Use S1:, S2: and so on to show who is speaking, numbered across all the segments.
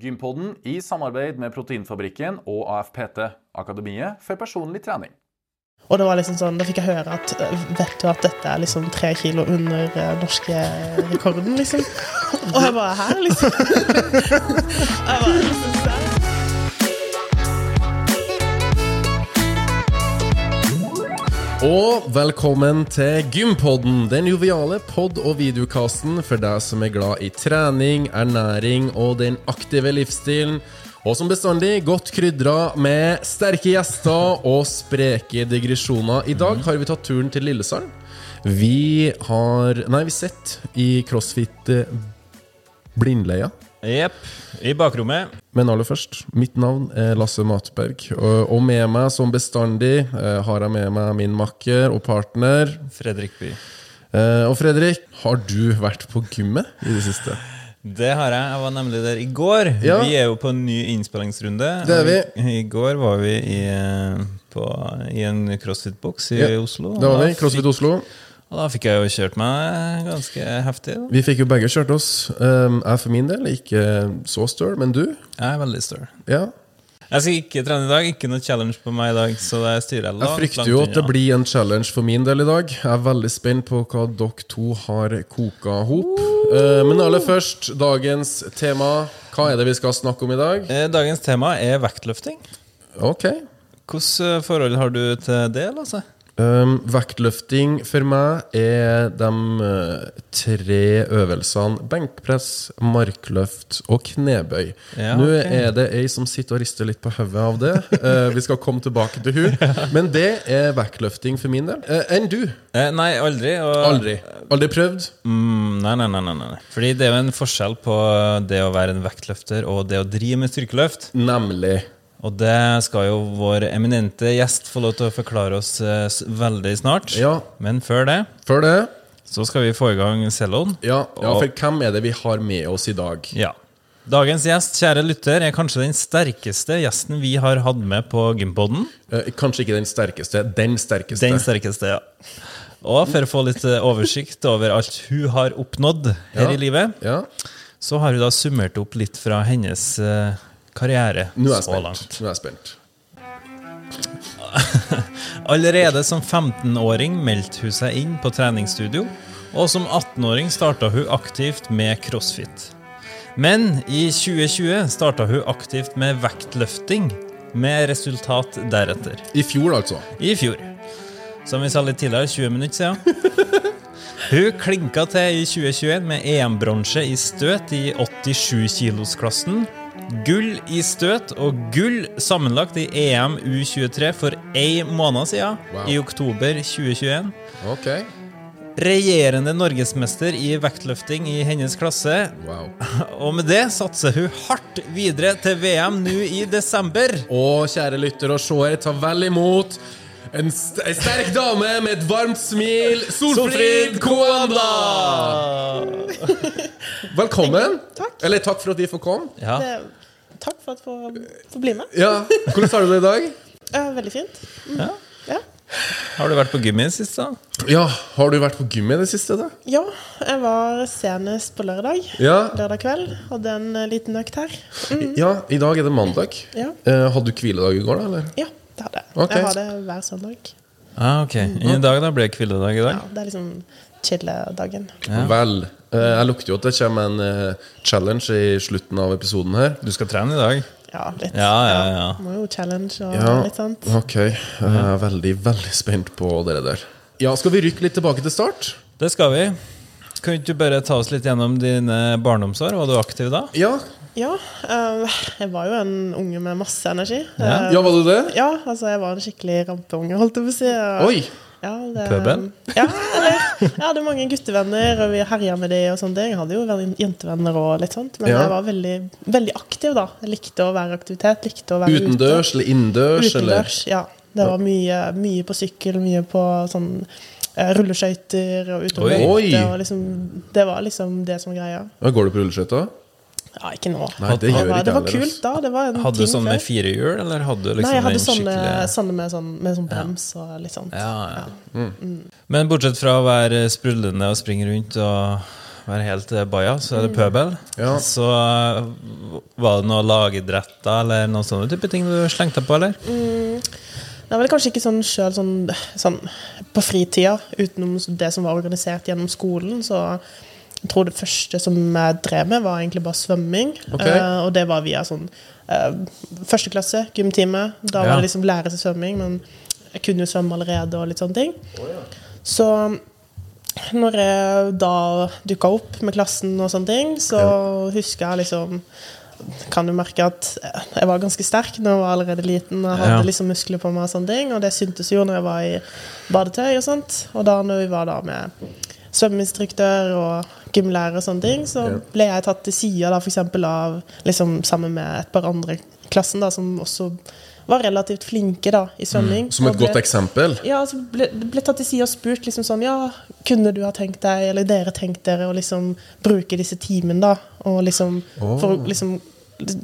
S1: Gympodden i samarbeid med Proteinfabrikken og AFPT, Akademiet for personlig trening.
S2: Og det var liksom sånn, da fikk jeg høre at eh, Vet du at dette er liksom tre kilo under eh, norske rekorden, liksom? Og jeg bare her, liksom. Og jeg bare, liksom sånn.
S3: Og velkommen til Gympodden, den joviale pod- og videokasten for deg som er glad i trening, ernæring og den aktive livsstilen. Og som bestandig godt krydra med sterke gjester og spreke digresjoner. I dag har vi tatt turen til Lillesand. Vi har Nei, vi sitter i CrossFit eh, Blindleia.
S4: Jepp. I bakrommet.
S3: Men aller først, mitt navn er Lasse Matberg. Og og med meg som bestandig eh, har jeg med meg min makker og partner
S4: Fredrik By.
S3: Eh, og Fredrik, har du vært på gymmet i det siste?
S4: Det har jeg. Jeg var nemlig der i går.
S3: Ja.
S4: Vi er jo på en ny innspillingsrunde.
S3: Det er vi.
S4: Og I går var vi i, eh, på, i en crossfit-boks i
S3: Ja,
S4: Oslo.
S3: Det var
S4: og
S3: vi,
S4: da
S3: CrossFit
S4: fikk-
S3: Oslo.
S4: Og da fikk jeg jo kjørt meg ganske heftig. Da.
S3: Vi fikk jo begge kjørt oss. Um, jeg for min del er ikke så støl, men du?
S4: Jeg er veldig støl.
S3: Ja.
S4: Jeg skal ikke trene i dag. Ikke noe challenge på meg i dag. Så det styrer jeg langt,
S3: Jeg frykter jo at det blir en challenge for min del i dag. Jeg er veldig spent på hva dere to har koka hop. Eh, men aller først, dagens tema. Hva er det vi skal snakke om i dag?
S4: Eh, Dagens tema er vektløfting.
S3: Ok,
S4: Hvilke eh, forhold har du til det, Lasse?
S3: Um, vektløfting for meg er de eh, tre øvelsene benkpress, markløft og knebøy.
S4: Ja,
S3: Nå
S4: ok.
S3: er det ei som sitter og rister litt på hodet av det. Eh, vi skal komme tilbake til hun Men det er vektløfting for min del. Eh, Enn du?
S4: Eh, nei, aldri. Og
S3: Aldri. Aldri prøvd?
S4: Mm, nei, nei, nei, nei, nei. Fordi det er jo en forskjell på det å være en vektløfter og det å drive med styrkeløft.
S3: Nemlig.
S4: Og det skal jo vår eminente gjest få lov til å forklare oss eh, s- veldig snart.
S3: Ja.
S4: Men før det
S3: Før det?
S4: så skal vi få i gang celloen.
S3: Ja, ja,
S4: Og-
S3: for hvem er det vi har med oss i dag?
S4: Ja. Dagens gjest, kjære lytter, er kanskje den sterkeste gjesten vi har hatt med på Gympodden.
S3: Eh, kanskje ikke den sterkeste. Den sterkeste.
S4: Den sterkeste, ja. Og for å få litt eh, oversikt over alt hun har oppnådd her
S3: Ja.
S4: i livet,
S3: ja.
S4: så har hun da summert opp litt fra hennes eh, karriere
S3: Nå er jeg
S4: så
S3: spent.
S4: langt.
S3: Nå er jeg spent.
S4: Allerede som 15-åring meldte hun seg inn på treningsstudio, og som 18-åring starta hun aktivt med crossfit. Men i 2020 starta hun aktivt med vektløfting, med resultat deretter.
S3: I fjor, altså.
S4: I fjor. Som vi sa litt tidligere, 20 minutter siden. Hun klinka til i 2021 med EM-bronse i støt i 87-kilosklassen. Gull i støt og gull sammenlagt i EM U23 for ei måned siden,
S3: Wow.
S4: i oktober 2021.
S3: Ok.
S4: Regjerende norgesmester i vektløfting i hennes klasse.
S3: Wow.
S4: Og med det satser hun hardt videre til VM nå i desember.
S3: Og kjære lytter og seere, ta vel imot en, st en sterk dame med et varmt smil, Solfrid Koanda! Velkommen.
S2: Takk.
S3: Eller takk for at vi får komme.
S4: Ja.
S2: Det, takk for at jeg får- får bli med.
S3: Ja, Hvordan har du det i dag?
S2: Eh, veldig fint.
S4: ja.
S2: Ja.
S4: Har du vært på gymmet sist, da?
S3: Ja, Har du vært på gymmet i det siste? da?
S2: ja, jeg var senest på lørdag.
S3: Ja.
S2: Lørdag kveld. Hadde en eh, liten økt her.
S3: ja, I dag er det mandag.
S2: Ja.
S3: Eh, hadde du hviledag i går, da? eller?
S2: Ja, det hadde jeg.
S3: Ok.
S2: Jeg har det hver søndag.
S4: Ah, ok. I dag da blir det hviledag i
S2: Mm, Ja,
S4: dag.
S2: det er liksom chille-dagen.
S3: Vel. Eh, jeg lukter jo at det kommer en eh, challenge i slutten av episoden her.
S4: Du skal trene i dag?
S2: Ja, litt.
S4: Ja, ja, ja.
S2: Må jo challenge og
S3: Ja,
S2: litt sånt.
S3: ok. Jeg er veldig, veldig spent på dere der. Ja, Skal vi rykke litt tilbake til start?
S4: Det skal vi. Kan ikke du bare ta oss litt gjennom dine barndomsår? Var du aktiv da?
S3: Ja,
S2: Ja, eh, jeg var jo en unge med masse energi.
S4: Ja.
S2: Eh,
S3: Ja, var du det?
S2: ja, altså jeg var en skikkelig rampeunge, holdt jeg på å si. og-
S3: Oi!
S2: Ja, det,
S4: Pøbel?
S2: Ja, eller, jeg hadde mange guttevenner, og vi herja med de og sånne ting. Jeg hadde jo ven- jentevenner og litt sånt, men
S3: Ja.
S2: jeg var veldig, veldig aktiv, da. Jeg likte å være i aktivitet, likte å være ute.
S3: Utendørs eller innendørs? Eller?
S2: Utendørs, ja. Det var mye, mye på sykkel, mye på sånn eh, rulleskøyter og
S4: Oi.
S2: uteområde.
S3: Oi.
S2: og Liksom, det var liksom det som var greia.
S3: Ja, går du på rulleskøyter?
S2: Ja, ikke nå.
S3: Nei, det
S2: Ja, nei, det
S3: gjør ikke
S2: var
S3: heller, altså.
S2: kult da. Det var en
S4: Hadde du
S2: ting
S4: sånn med
S2: før.
S4: fire hjul, eller hadde du liksom
S2: Nei, jeg hadde
S4: den
S2: sånne,
S4: skikkelig-
S2: sånne med sånn, med sånn brems og litt sånt. Mm.
S4: Ja, ja. Men bortsett fra å være sprudlende og springe rundt og være helt eh, baja, så
S2: Mm.
S4: er det pøbel.
S3: Ja.
S4: Så eh, var det noe lagidretter eller noen sånne type ting du slengte på, eller?
S2: Mm. Det er vel kanskje ikke sånn sjøl sånn, sånn på fritida, utenom det som var organisert gjennom skolen, så jeg tror det første som jeg drev med, var egentlig bare svømming.
S3: Ok.
S2: Eh, og det var via sånn eh, første klasse, gymtime. Da
S4: Ja.
S2: var det liksom lære seg svømming, men jeg kunne jo svømme allerede og litt sånne ting. Så når jeg da dukka opp med klassen og sånne ting, så husker jeg liksom Kan jo merke at jeg var ganske sterk da jeg var allerede liten. Jeg hadde
S4: Ja.
S2: liksom muskler på meg og sånne ting, og det syntes jo når jeg var i badetøy og sånt. Og da når vi var da med svømmeinstruktør og gymlærer og sånne ting, så
S3: Ja.
S2: ble jeg tatt til sida da f.eks. av liksom sammen med et par andre i klassen da som også var relativt flinke da i svømming.
S3: Mm. Som
S2: Og
S3: et
S2: ble-
S3: godt eksempel.
S2: ja, altså ble, det ble tatt til side og spurt liksom sånn Ja, kunne du ha tenkt deg, eller dere tenkt dere, å liksom bruke disse timene, da? Og liksom For å liksom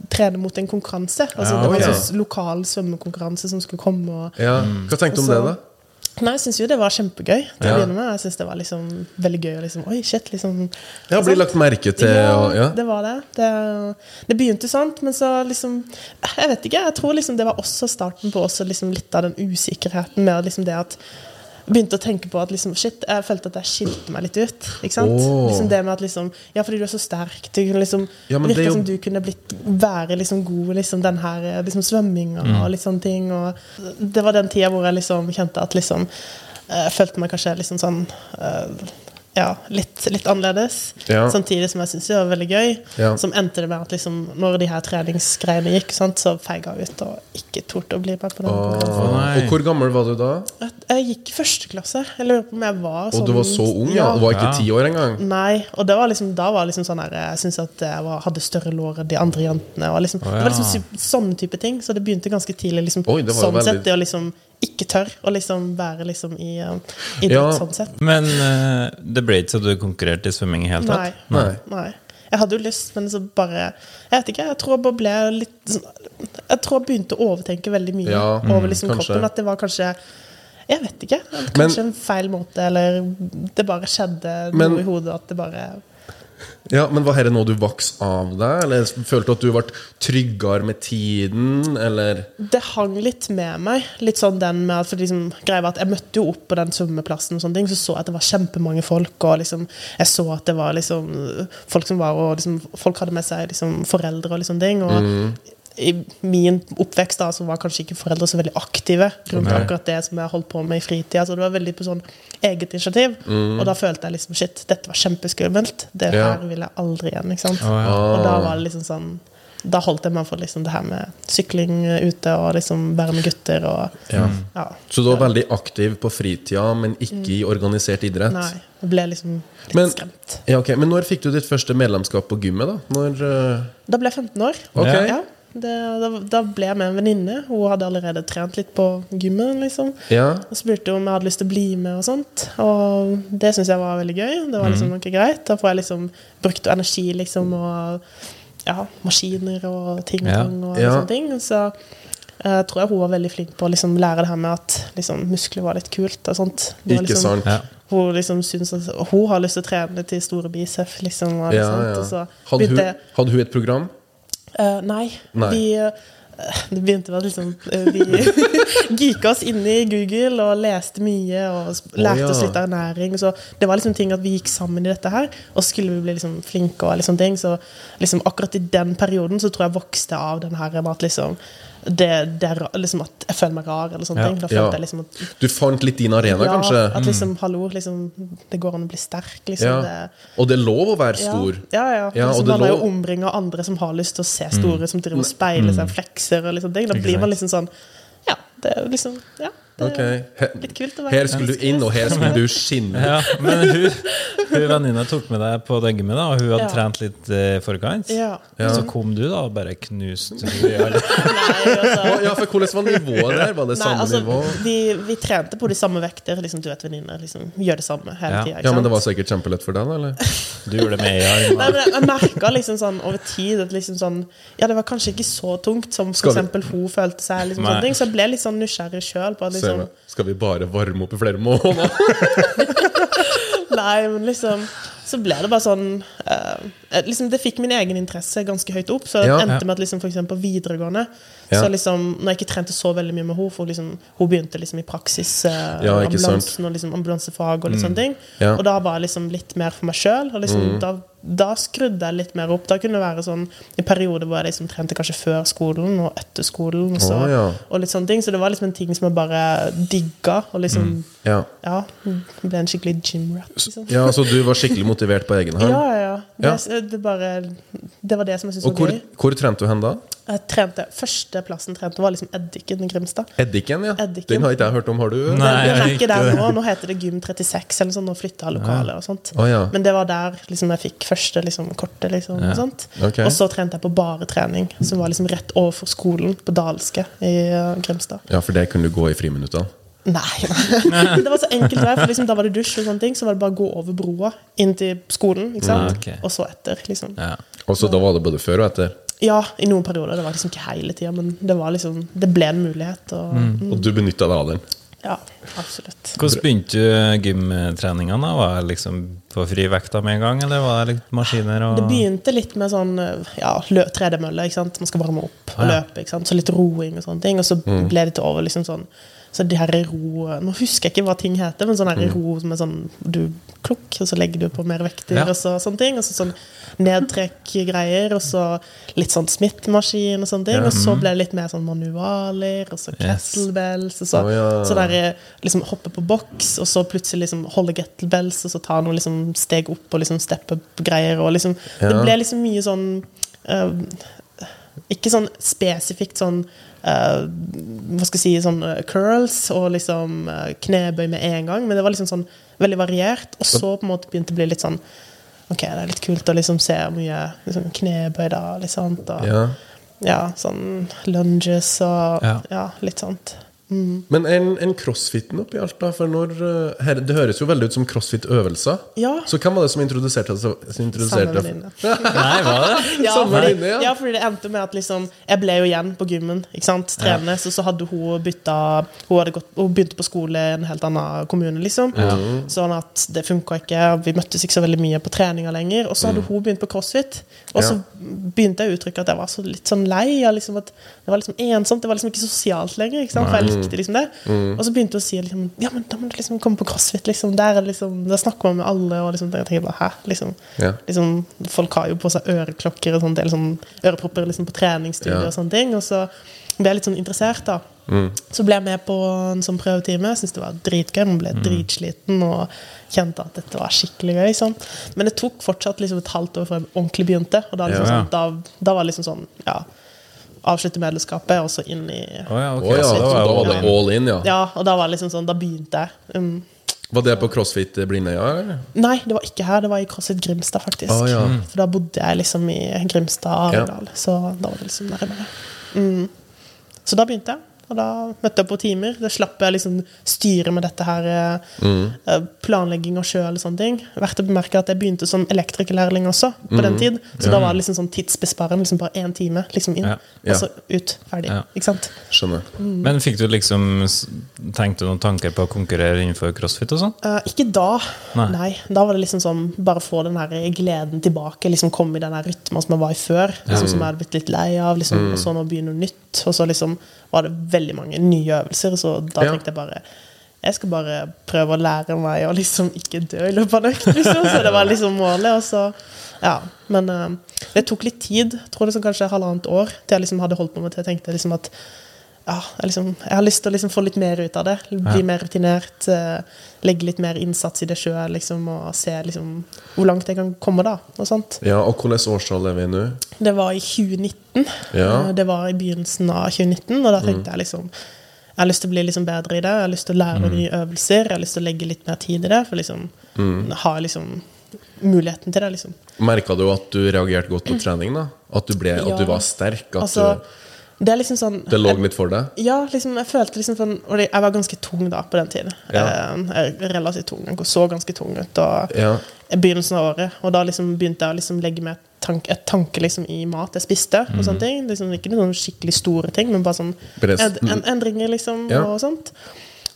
S2: trene mot en konkurranse. Altså
S4: Ja,
S2: det var
S3: ok.
S2: en sånn lokal svømmekonkurranse som skulle komme og
S3: Ja. Hva tenkte du om det,
S2: Så-
S3: da?
S2: Nei, jeg syns jo det var kjempegøy til å
S3: Ja.
S2: begynne med. Jeg syns det var liksom veldig gøy å liksom Oi, shit, liksom
S3: Ja, Blir lagt merke til
S2: ja,
S3: og ja.
S2: det var det. det. Det begynte sånn, men så liksom Jeg vet ikke. Jeg tror liksom det var også starten på også liksom litt av den usikkerheten med liksom det at jeg begynte å tenke på at liksom, shit, jeg følte at jeg skilte meg litt ut. Ikke sant?
S3: Åh.
S2: Liksom det med at liksom, Ja, fordi du er så sterk. Du kunne liksom
S3: Ja, men det er
S2: virker
S3: jo-
S2: som du kunne blitt være liksom god i liksom, den her eh, liksom, svømminga og litt sånne ting. Og det var den tida hvor jeg liksom kjente at liksom eh, Jeg følte meg kanskje liksom sånn eh, ja, litt, litt annerledes. Sånn
S3: Ja.
S2: Samtidig som jeg syntes det var veldig gøy.
S3: Ja.
S2: Som endte det med at liksom, når de her treningsgreiene gikk, sant, så feiga jeg ut og ikke torde å bli med på den. konkurransen.
S3: Ah,
S4: nei.
S3: Og hvor gammel var du da?
S2: Jeg gikk i første klasse. Jeg lurer på om jeg var sånn
S3: Og du var så ung, ja? Du var ikke ti år engang?
S2: Nei, og det var liksom, da var liksom sånn her Jeg syntes at jeg var, hadde større lår enn de andre jentene. Og liksom, Det var liksom sy- sånne type ting. Så det begynte ganske tidlig. Liksom,
S3: Ah, Oi, det var jo
S2: sånn
S3: veldig-
S2: sett, det å liksom ikke tørre å liksom være liksom i eh, idrett
S3: Ja.
S2: sånn sett.
S4: Men eh, det ble ikke så du konkurrerte i svømming i hele
S2: Nei.
S4: tatt?
S3: Nei.
S2: Nei. Jeg hadde jo lyst, men så bare Jeg vet ikke, jeg tror jeg bare ble litt sånn Jeg tror jeg begynte å overtenke veldig mye
S3: Ja,
S2: over liksom
S3: kanskje.
S2: kroppen. At det var kanskje Jeg vet ikke. Kanskje
S3: Men-
S2: en feil måte, eller det bare skjedde
S3: Men-
S2: noe i hodet at det bare
S3: Ja, Men var dette noe du vokste av deg? Eller følte du at du ble tryggere med tiden? Eller
S2: det hang litt med meg. Litt sånn den med at, for liksom, greia var at Jeg møtte jo opp på den svømmeplassen, og sånne ting, så så jeg at det var kjempemange folk. Og liksom, jeg så at det var liksom, folk som var og liksom, Folk hadde med seg liksom, foreldre og liksom ting. Og i min oppvekst da, så var kanskje ikke foreldre så veldig aktive rundt
S4: Nei.
S2: akkurat det som jeg holdt på med i fritida. Så det var veldig på sånn eget initiativ. Og da følte jeg liksom shit, dette var kjempeskummelt. Det
S3: Ja.
S2: her vil jeg aldri igjen. ikke sant?
S4: Å, ja.
S2: Og da var det liksom sånn Da holdt jeg meg for liksom det her med sykling ute og liksom være med gutter og
S3: Ja.
S2: Ja. Mm.
S3: Så du var veldig aktiv på fritida, men ikke i organisert idrett?
S2: Nei. Jeg ble liksom litt
S3: Men-
S2: skremt.
S3: Ja, ok, Men når fikk du ditt første medlemskap på gymmet? da? Når, eh,
S2: Da ble jeg 15 år.
S3: Ok.
S2: Ja. Det, da, da ble jeg med en venninne. Hun hadde allerede trent litt på gymmet. liksom
S3: ja.
S2: Og spurte om jeg hadde lyst til å bli med og sånt. Og det syntes jeg var veldig gøy. Det var liksom
S3: Mhm.
S2: noe greit. Da får jeg liksom brukt energi, liksom, og ja, maskiner og ting og
S4: Ja.
S2: tang og
S3: Ja.
S2: sånne ting. Så eh, tror jeg hun var veldig flink på å liksom lære det her med at liksom, muskler var litt kult og sånt. Det var
S3: Ikke
S2: liksom,
S3: sant?
S4: Ja.
S2: Hun liksom syns at hun har lyst til å trene til store biceps, liksom. Og,
S3: Ja,
S2: sånt.
S3: ja.
S2: og så
S3: Hadde, hun,
S2: begynte jeg
S3: hadde hun et program?
S2: Eh, nei.
S3: Nei.
S2: Vi, eh, det begynte med at liksom, eh, vi geeka oss inn i Google og leste mye og s- lærte
S3: ja.
S2: oss litt av ernæring. Så det var liksom ting at vi gikk sammen i dette her, og skulle vi bli liksom flinke. og liksom ting, Så liksom akkurat i den perioden så tror jeg vokste jeg av den her med at liksom det, det er, ra- liksom at jeg føler meg rar, eller sånne
S4: Ja.
S2: ting. Da følte
S3: Ja.
S2: jeg liksom at
S3: Du fant litt din arena,
S2: ja,
S3: kanskje? Mm.
S2: at liksom, hallo, liksom, det går an å bli sterk. liksom
S3: Ja.
S2: det
S3: Og det er lov å være stor.
S2: Ja, ja. ja.
S3: Ja, og
S2: liksom,
S3: det
S2: man er jo
S3: lå- Mm.
S2: omringa av andre som har lyst til å se store, som driver og speiler seg, flekser og liksom ting. Da
S4: Ikke
S2: blir man
S4: sant.
S2: liksom sånn Ja, det er liksom Ja. Det er
S3: Ok. He-
S2: litt kult å være
S3: Her skulle du inn, og her skulle du skinne.
S4: Ja, men hun, hun venninna tok med deg på det gymmet, da, og hun hadde
S2: Ja.
S4: trent litt eh, i forkant.
S2: Ja.
S4: Og Så kom du, da, og bare knuste henne i alle
S2: Nei, altså,
S3: Å, Ja, for hvordan var nivået der? Var det
S2: nei,
S3: samme
S2: altså
S3: nivå?
S2: vi, vi trente på de samme vekter. Liksom, du vet, venninner liksom, gjør det samme hele
S4: Ja.
S2: tida.
S3: Ja, men det var sikkert kjempelett for deg, da? eller?
S4: Du gjorde det med en
S2: Nei,
S4: gang.
S2: men jeg- jeg merka liksom sånn over tid at liksom sånn Ja, det var kanskje ikke så tungt som for
S3: Skal vi-
S2: eksempel hun følte seg. Liksom,
S4: Nei.
S2: sånne ting, så jeg ble litt sånn nysgjerrig sjøl på at
S3: Ser
S2: liksom
S3: meg. Skal vi bare varme opp i flere måneder?
S2: Nei, men liksom Så ble det bare sånn eh, liksom Det fikk min egen interesse ganske høyt opp. Så det
S3: Ja,
S2: endte
S4: ja.
S2: med at liksom, for eksempel på videregående
S3: Ja.
S2: Så liksom, Når jeg ikke trente så veldig mye med henne, for liksom, hun begynte liksom i praksis eh,
S3: Ja, ikke sant. Mm.
S2: ambulansen og liksom, ambulansefag og litt sånne ting.
S3: Ja. Mm.
S2: Og da var jeg liksom litt mer for meg sjøl. Liksom, da, da skrudde jeg litt mer opp. Da kunne det være sånn I perioder hvor jeg liksom trente kanskje før skolen og etter skolen. Og så,
S3: Å, ja.
S2: og litt sånne ting. Så det var liksom en ting som jeg bare digga. Og liksom
S3: Ja.
S2: Ja, ble en skikkelig gymrat. Liksom.
S3: ja, så du var skikkelig motivert på egen
S2: Ja,
S3: hånd?
S2: ja, ja. Det,
S3: Ja.
S2: det, bare, det var det som jeg syntes
S3: Og
S2: var
S3: hvor,
S2: gøy.
S3: hvor trente du hen da?
S2: Jeg trente, Førsteplassen trente var liksom Eddiken i Grimstad.
S3: Eddiken, ja.
S2: Eddiken.
S3: Den har ikke jeg hørt om, har du?
S4: Nei,
S2: Den den er
S4: riktig
S2: ikke der
S4: det.
S2: nå. Nå heter det Gym 36, eller sånn, nå flytta jeg lokale og sånt.
S3: Å, ja.
S2: Men det var der liksom, jeg fikk første liksom, kortet. Liksom, og, sånt.
S3: Ok.
S2: og så trente jeg på bare trening, som var liksom rett overfor skolen på Dalske i eh, Grimstad.
S3: Ja, for det kunne du gå i friminuttene.
S2: Nei, nei. det var så enkelt vei, for liksom, da var det dusj og sånne ting. Så var det bare å gå over broa inn til skolen, ikke sant?
S4: Ja, ok.
S2: og så etter. liksom.
S4: Ja.
S3: Og så da var det både før og etter.
S2: Ja, i noen perioder. Det var liksom ikke hele tida, men det, var liksom, det ble en mulighet. Og,
S4: Mm.
S3: Og du benytta deg av den.
S2: Ja, absolutt.
S4: Hvordan begynte du gymtreninga? da? Var det liksom på fri vekta med en gang, eller var det litt maskiner og
S2: Det begynte litt med sånn ja, lø- tredemølle. ikke sant? Man skal varme opp og
S4: Ah, ja. Mm.
S2: løpe. ikke sant? Så litt roing og sånne ting. Og så ble det til over liksom sånn Så de her ro Nå husker jeg ikke hva ting heter, men sånn her
S4: Mm.
S2: ro med sånn du klukk, og så legger du på mer vekter
S4: Ja.
S2: og så sånne ting. Og så sånn nedtrekk-greier, og så litt sånn smittmaskin og sånne ting. Og så ble det litt mer sånn manualer, og så
S4: Mm. Yes.
S2: kettlebells, og så
S3: Å, ja.
S2: så der eh, liksom hoppe på boks, og så plutselig liksom holde kettlebells, og så ta noen liksom steg opp og liksom step up-greier. og liksom Det
S3: Ja.
S2: ble liksom mye sånn eh, Ikke sånn spesifikt sånn eh, Hva skal jeg si Sånn eh, curls og liksom eh, knebøy med en gang, men det var liksom sånn veldig variert. Og så på en måte begynte det å bli litt sånn Ok, det er litt kult å liksom se hvor mye liksom knebøy da, liksom. Og, ja.
S3: Ja.
S2: sånn lunges og
S4: Ja.
S2: ja litt sånt.
S3: Men en, en crossfiten oppi alt, da? For når, eh, her, det høres jo veldig ut som crossfit-øvelser.
S2: Ja.
S3: Så hvem var det som introduserte som
S2: Samme
S3: introduserte
S2: venninne.
S4: Nei, var det?
S2: Ja,
S3: Samme
S2: fordi,
S3: venninne, ja.
S2: ja, fordi det endte med at liksom Jeg ble jo igjen på gymmen, ikke sant, trenende, så, så hadde hun bytta hun, hadde gått, hun begynte på skole i en helt annen kommune, liksom. Sånn at det funka ikke. Vi møttes ikke så veldig mye på treninger lenger. Og så hadde hun begynt på crossfit, og så begynte jeg å uttrykke at jeg var så litt sånn lei. av liksom at Det var liksom ensomt, det var liksom ikke sosialt lenger, ikke sant, for jeg likte liksom det. Og så begynte hun å si liksom Ja, men da må du liksom komme på crossfit, liksom. Der, er det liksom, der snakker man med alle, og liksom Jeg tenker bare Hæ? Liksom
S3: Ja.
S2: liksom, folk har jo på seg øreklokker og sånn del sånn ørepropper liksom, på treningsstudier
S3: Ja. Mm.
S2: og sånne ting. Og så ble jeg litt sånn interessert, da. Så ble jeg med på en sånn prøvetime. Syntes det var dritgøy. Man
S4: Mm.
S2: ble dritsliten og kjente at dette var skikkelig gøy. Sånn. Men det tok fortsatt liksom, et halvt år før jeg ordentlig begynte. Og da, liksom,
S4: Ja.
S2: sånn, da, da var det liksom sånn Ja, avslutte medlemskapet, og så inn i
S4: Å ja, ok.
S3: Å ja,
S4: så
S3: så da var det
S4: all in.
S3: all in, ja.
S2: Ja, og da var det liksom sånn Da begynte jeg. Um,
S3: Var det på crossfit eh, Blindøya, eller?
S2: Nei, det var ikke her. Det var i CrossFit Grimstad, faktisk.
S3: Å, ja. Mm.
S2: For da bodde jeg liksom i Grimstad og
S3: Ja.
S2: Arendal. Så da var det liksom nærmere. Mm. Så da begynte jeg. Og da møtte jeg på timer. Da slapp jeg liksom styre med dette her eh,
S3: Mm.
S2: eh, planlegging og sjøl og sånne ting. Verdt å bemerke at jeg begynte som elektrikerlærling også på
S3: Mm.
S2: den tid. Så da var det liksom sånn tidsbesparende. Liksom bare én time liksom inn,
S4: Ja.
S3: Ja.
S2: og så ut. Ferdig.
S4: Ja.
S2: Ikke sant?
S3: Skjønner.
S2: Mm.
S4: Men fikk du liksom s- Tenkte du noen tanker på å konkurrere innenfor crossfit og sånn?
S2: Eh, ikke da.
S4: Nei.
S2: Nei. Da var det liksom sånn bare få den her gleden tilbake. liksom Komme i den her rytmen som jeg var i før. Liksom, Som jeg hadde blitt litt lei av. liksom Og så nå begynner noe nytt. Og så liksom var det veldig mange nye øvelser. Så da
S3: Ja.
S2: tenkte jeg bare jeg skal bare prøve å lære meg å liksom ikke dø i løpet av en økt. Liksom. Så det var liksom målet. Og så, ja. Men eh, det tok litt tid, jeg tror det som kanskje halvannet år, til jeg liksom hadde holdt på med det. Jeg tenkte liksom at ja, jeg, liksom, jeg har lyst til å liksom få litt mer ut av det. Bli mer rutinert. eh, legge litt mer innsats i det sjøl, liksom, og se liksom, hvor langt jeg kan komme. da, og sånt.
S3: Ja, og hvilket årstall er vi i nå?
S2: Det var i 2019.
S3: Ja. Mm.
S2: Eh, Det var i begynnelsen av 2019, og da tenkte jeg liksom jeg har lyst til å bli liksom bedre i det, jeg har lyst til å lære
S3: Mm.
S2: nye øvelser. Jeg har lyst til å legge litt mer tid i det, for liksom
S3: Mm.
S2: ha liksom muligheten til det. liksom.
S3: Merka du at du reagerte godt på trening? da? At du, ble, at du
S2: Mm. Ja.
S3: var sterk? At
S2: Altså, det er liksom sånn
S3: du, det lå litt for deg?
S2: Ja, liksom, jeg følte liksom sånn Og det- jeg var ganske tung da, på den tiden.
S3: Ja.
S2: Eh, Jeg, er relativt tung. Jeg så ganske tung ut. Og
S3: Ja.
S2: i begynnelsen av året. Og da liksom begynte jeg å liksom legge med et tank, et tanke liksom i mat jeg spiste. og
S3: Mhm.
S2: sånne ting. Liksom, ikke noen sånne skikkelig store ting, men bare sånn
S3: Bare s-
S2: end, en, endringer liksom,
S3: Ja.
S2: og sånt.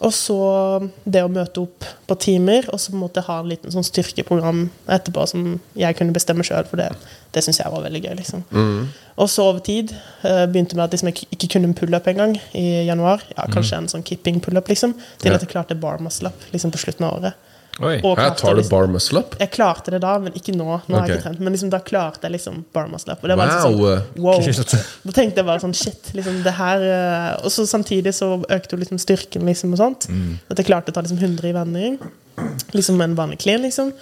S2: Og så det å møte opp på timer, og så på en måte ha en liten sånn styrkeprogram etterpå som jeg kunne bestemme sjøl, for det, det syns jeg var veldig gøy. liksom.
S3: Mhm.
S2: Og så over tid eh, begynte med at liksom, jeg ikke kunne en pullup engang i januar. Ja, Kanskje en sånn kipping pullup, liksom. Til
S3: Mhm. Ja.
S2: at jeg klarte bar muscle up liksom, på slutten av året.
S4: Oi.
S2: Og
S3: Her
S2: klarte
S3: tar du
S2: liksom-
S3: bar muscle up.
S2: jeg klarte det da, men ikke nå. Nå har jeg
S3: Ok.
S2: ikke trent. Men liksom, da klarte jeg liksom bar muscle up. Og det var liksom
S3: Wow!
S2: sånn, wow.
S4: Kult.
S2: Da tenkte jeg bare sånn Shit, liksom det her eh, Og så samtidig så økte jo liksom styrken, liksom, og sånt.
S3: Mm.
S2: At jeg klarte å ta liksom 100 i vending. Liksom en vanlig clean, liksom.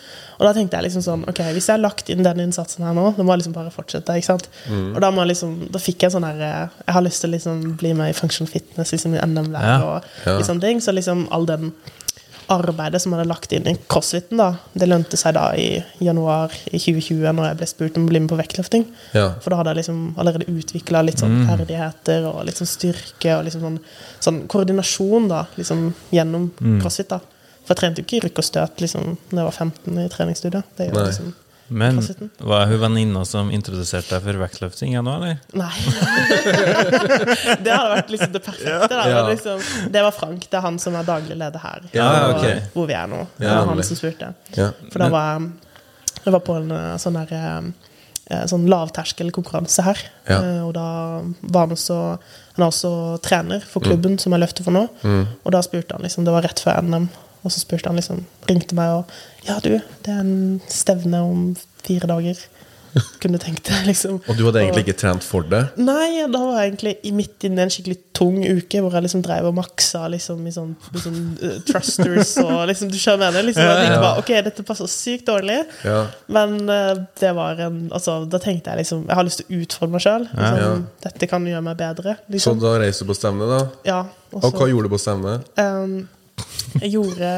S2: Og da tenkte jeg liksom sånn Ok, hvis jeg har lagt inn den innsatsen her nå, da må jeg liksom bare fortsette, ikke sant.
S3: Mm.
S2: Og da må jeg liksom Da fikk jeg sånn her eh, Jeg har lyst til å liksom bli med i Function Fitness, liksom i NM der,
S4: Ja.
S2: og litt sånne ting. Så liksom all den arbeidet som jeg hadde lagt inn i crossfiten, da, det lønte seg da i januar i 2020, når jeg ble spurt om å bli med på vektløfting.
S3: Ja. Mm.
S2: For da hadde jeg liksom allerede utvikla litt sånn ferdigheter og litt sånn styrke og liksom sånn, sånn koordinasjon da, liksom gjennom
S3: Mm.
S2: crossfit. da. For jeg trente jo ikke rykk og støt liksom, når jeg var 15 i treningsstudio. Det gjør
S3: Nei.
S2: jeg liksom
S4: Men
S2: Fasiten.
S4: var hun venninna som introduserte deg for vektløfting ennå, eller?
S2: Nei. det hadde vært liksom det perfekte. Da.
S3: Ja.
S2: Men liksom, det var Frank. Det er han som er daglig leder her.
S3: Ja,
S2: og
S3: ok.
S2: Hvor vi er nå. Det
S3: Ja,
S2: var han
S3: nemlig.
S2: som spurte.
S3: Ja.
S2: For da var jeg, jeg var på en eh, sånn der eh, eh, Sånn lavterskelkonkurranse her.
S3: Ja.
S2: Eh, Og da var han også Han er også trener for
S3: Mm.
S2: klubben som jeg løfter for nå. Og da spurte han liksom Det var rett før NM. Og så spurte han liksom Ringte meg og Ja, du, det er en stevne om fire dager. Kunne tenkt deg, liksom.
S3: Og du hadde egentlig ikke trent for det?
S2: Nei, da var jeg egentlig i midt inne i en skikkelig tung uke hvor jeg liksom drev og maksa liksom, i sånn, i sånn eh, thrusters og liksom Du skjønner hva jeg mener? Liksom, jeg tenkte bare, ok, dette passer sykt dårlig.
S3: Ja.
S2: Men eh, det var en altså, Da tenkte jeg liksom Jeg har lyst til å utfordre meg sjøl. Liksom,
S3: Ja.
S2: Dette kan gjøre meg bedre.
S3: Så
S2: Liksom.
S3: da reiser du på stevne, da?
S2: ja, og
S3: Og hva
S2: så,
S3: gjorde du på stevne?
S2: em, Ehm, jeg gjorde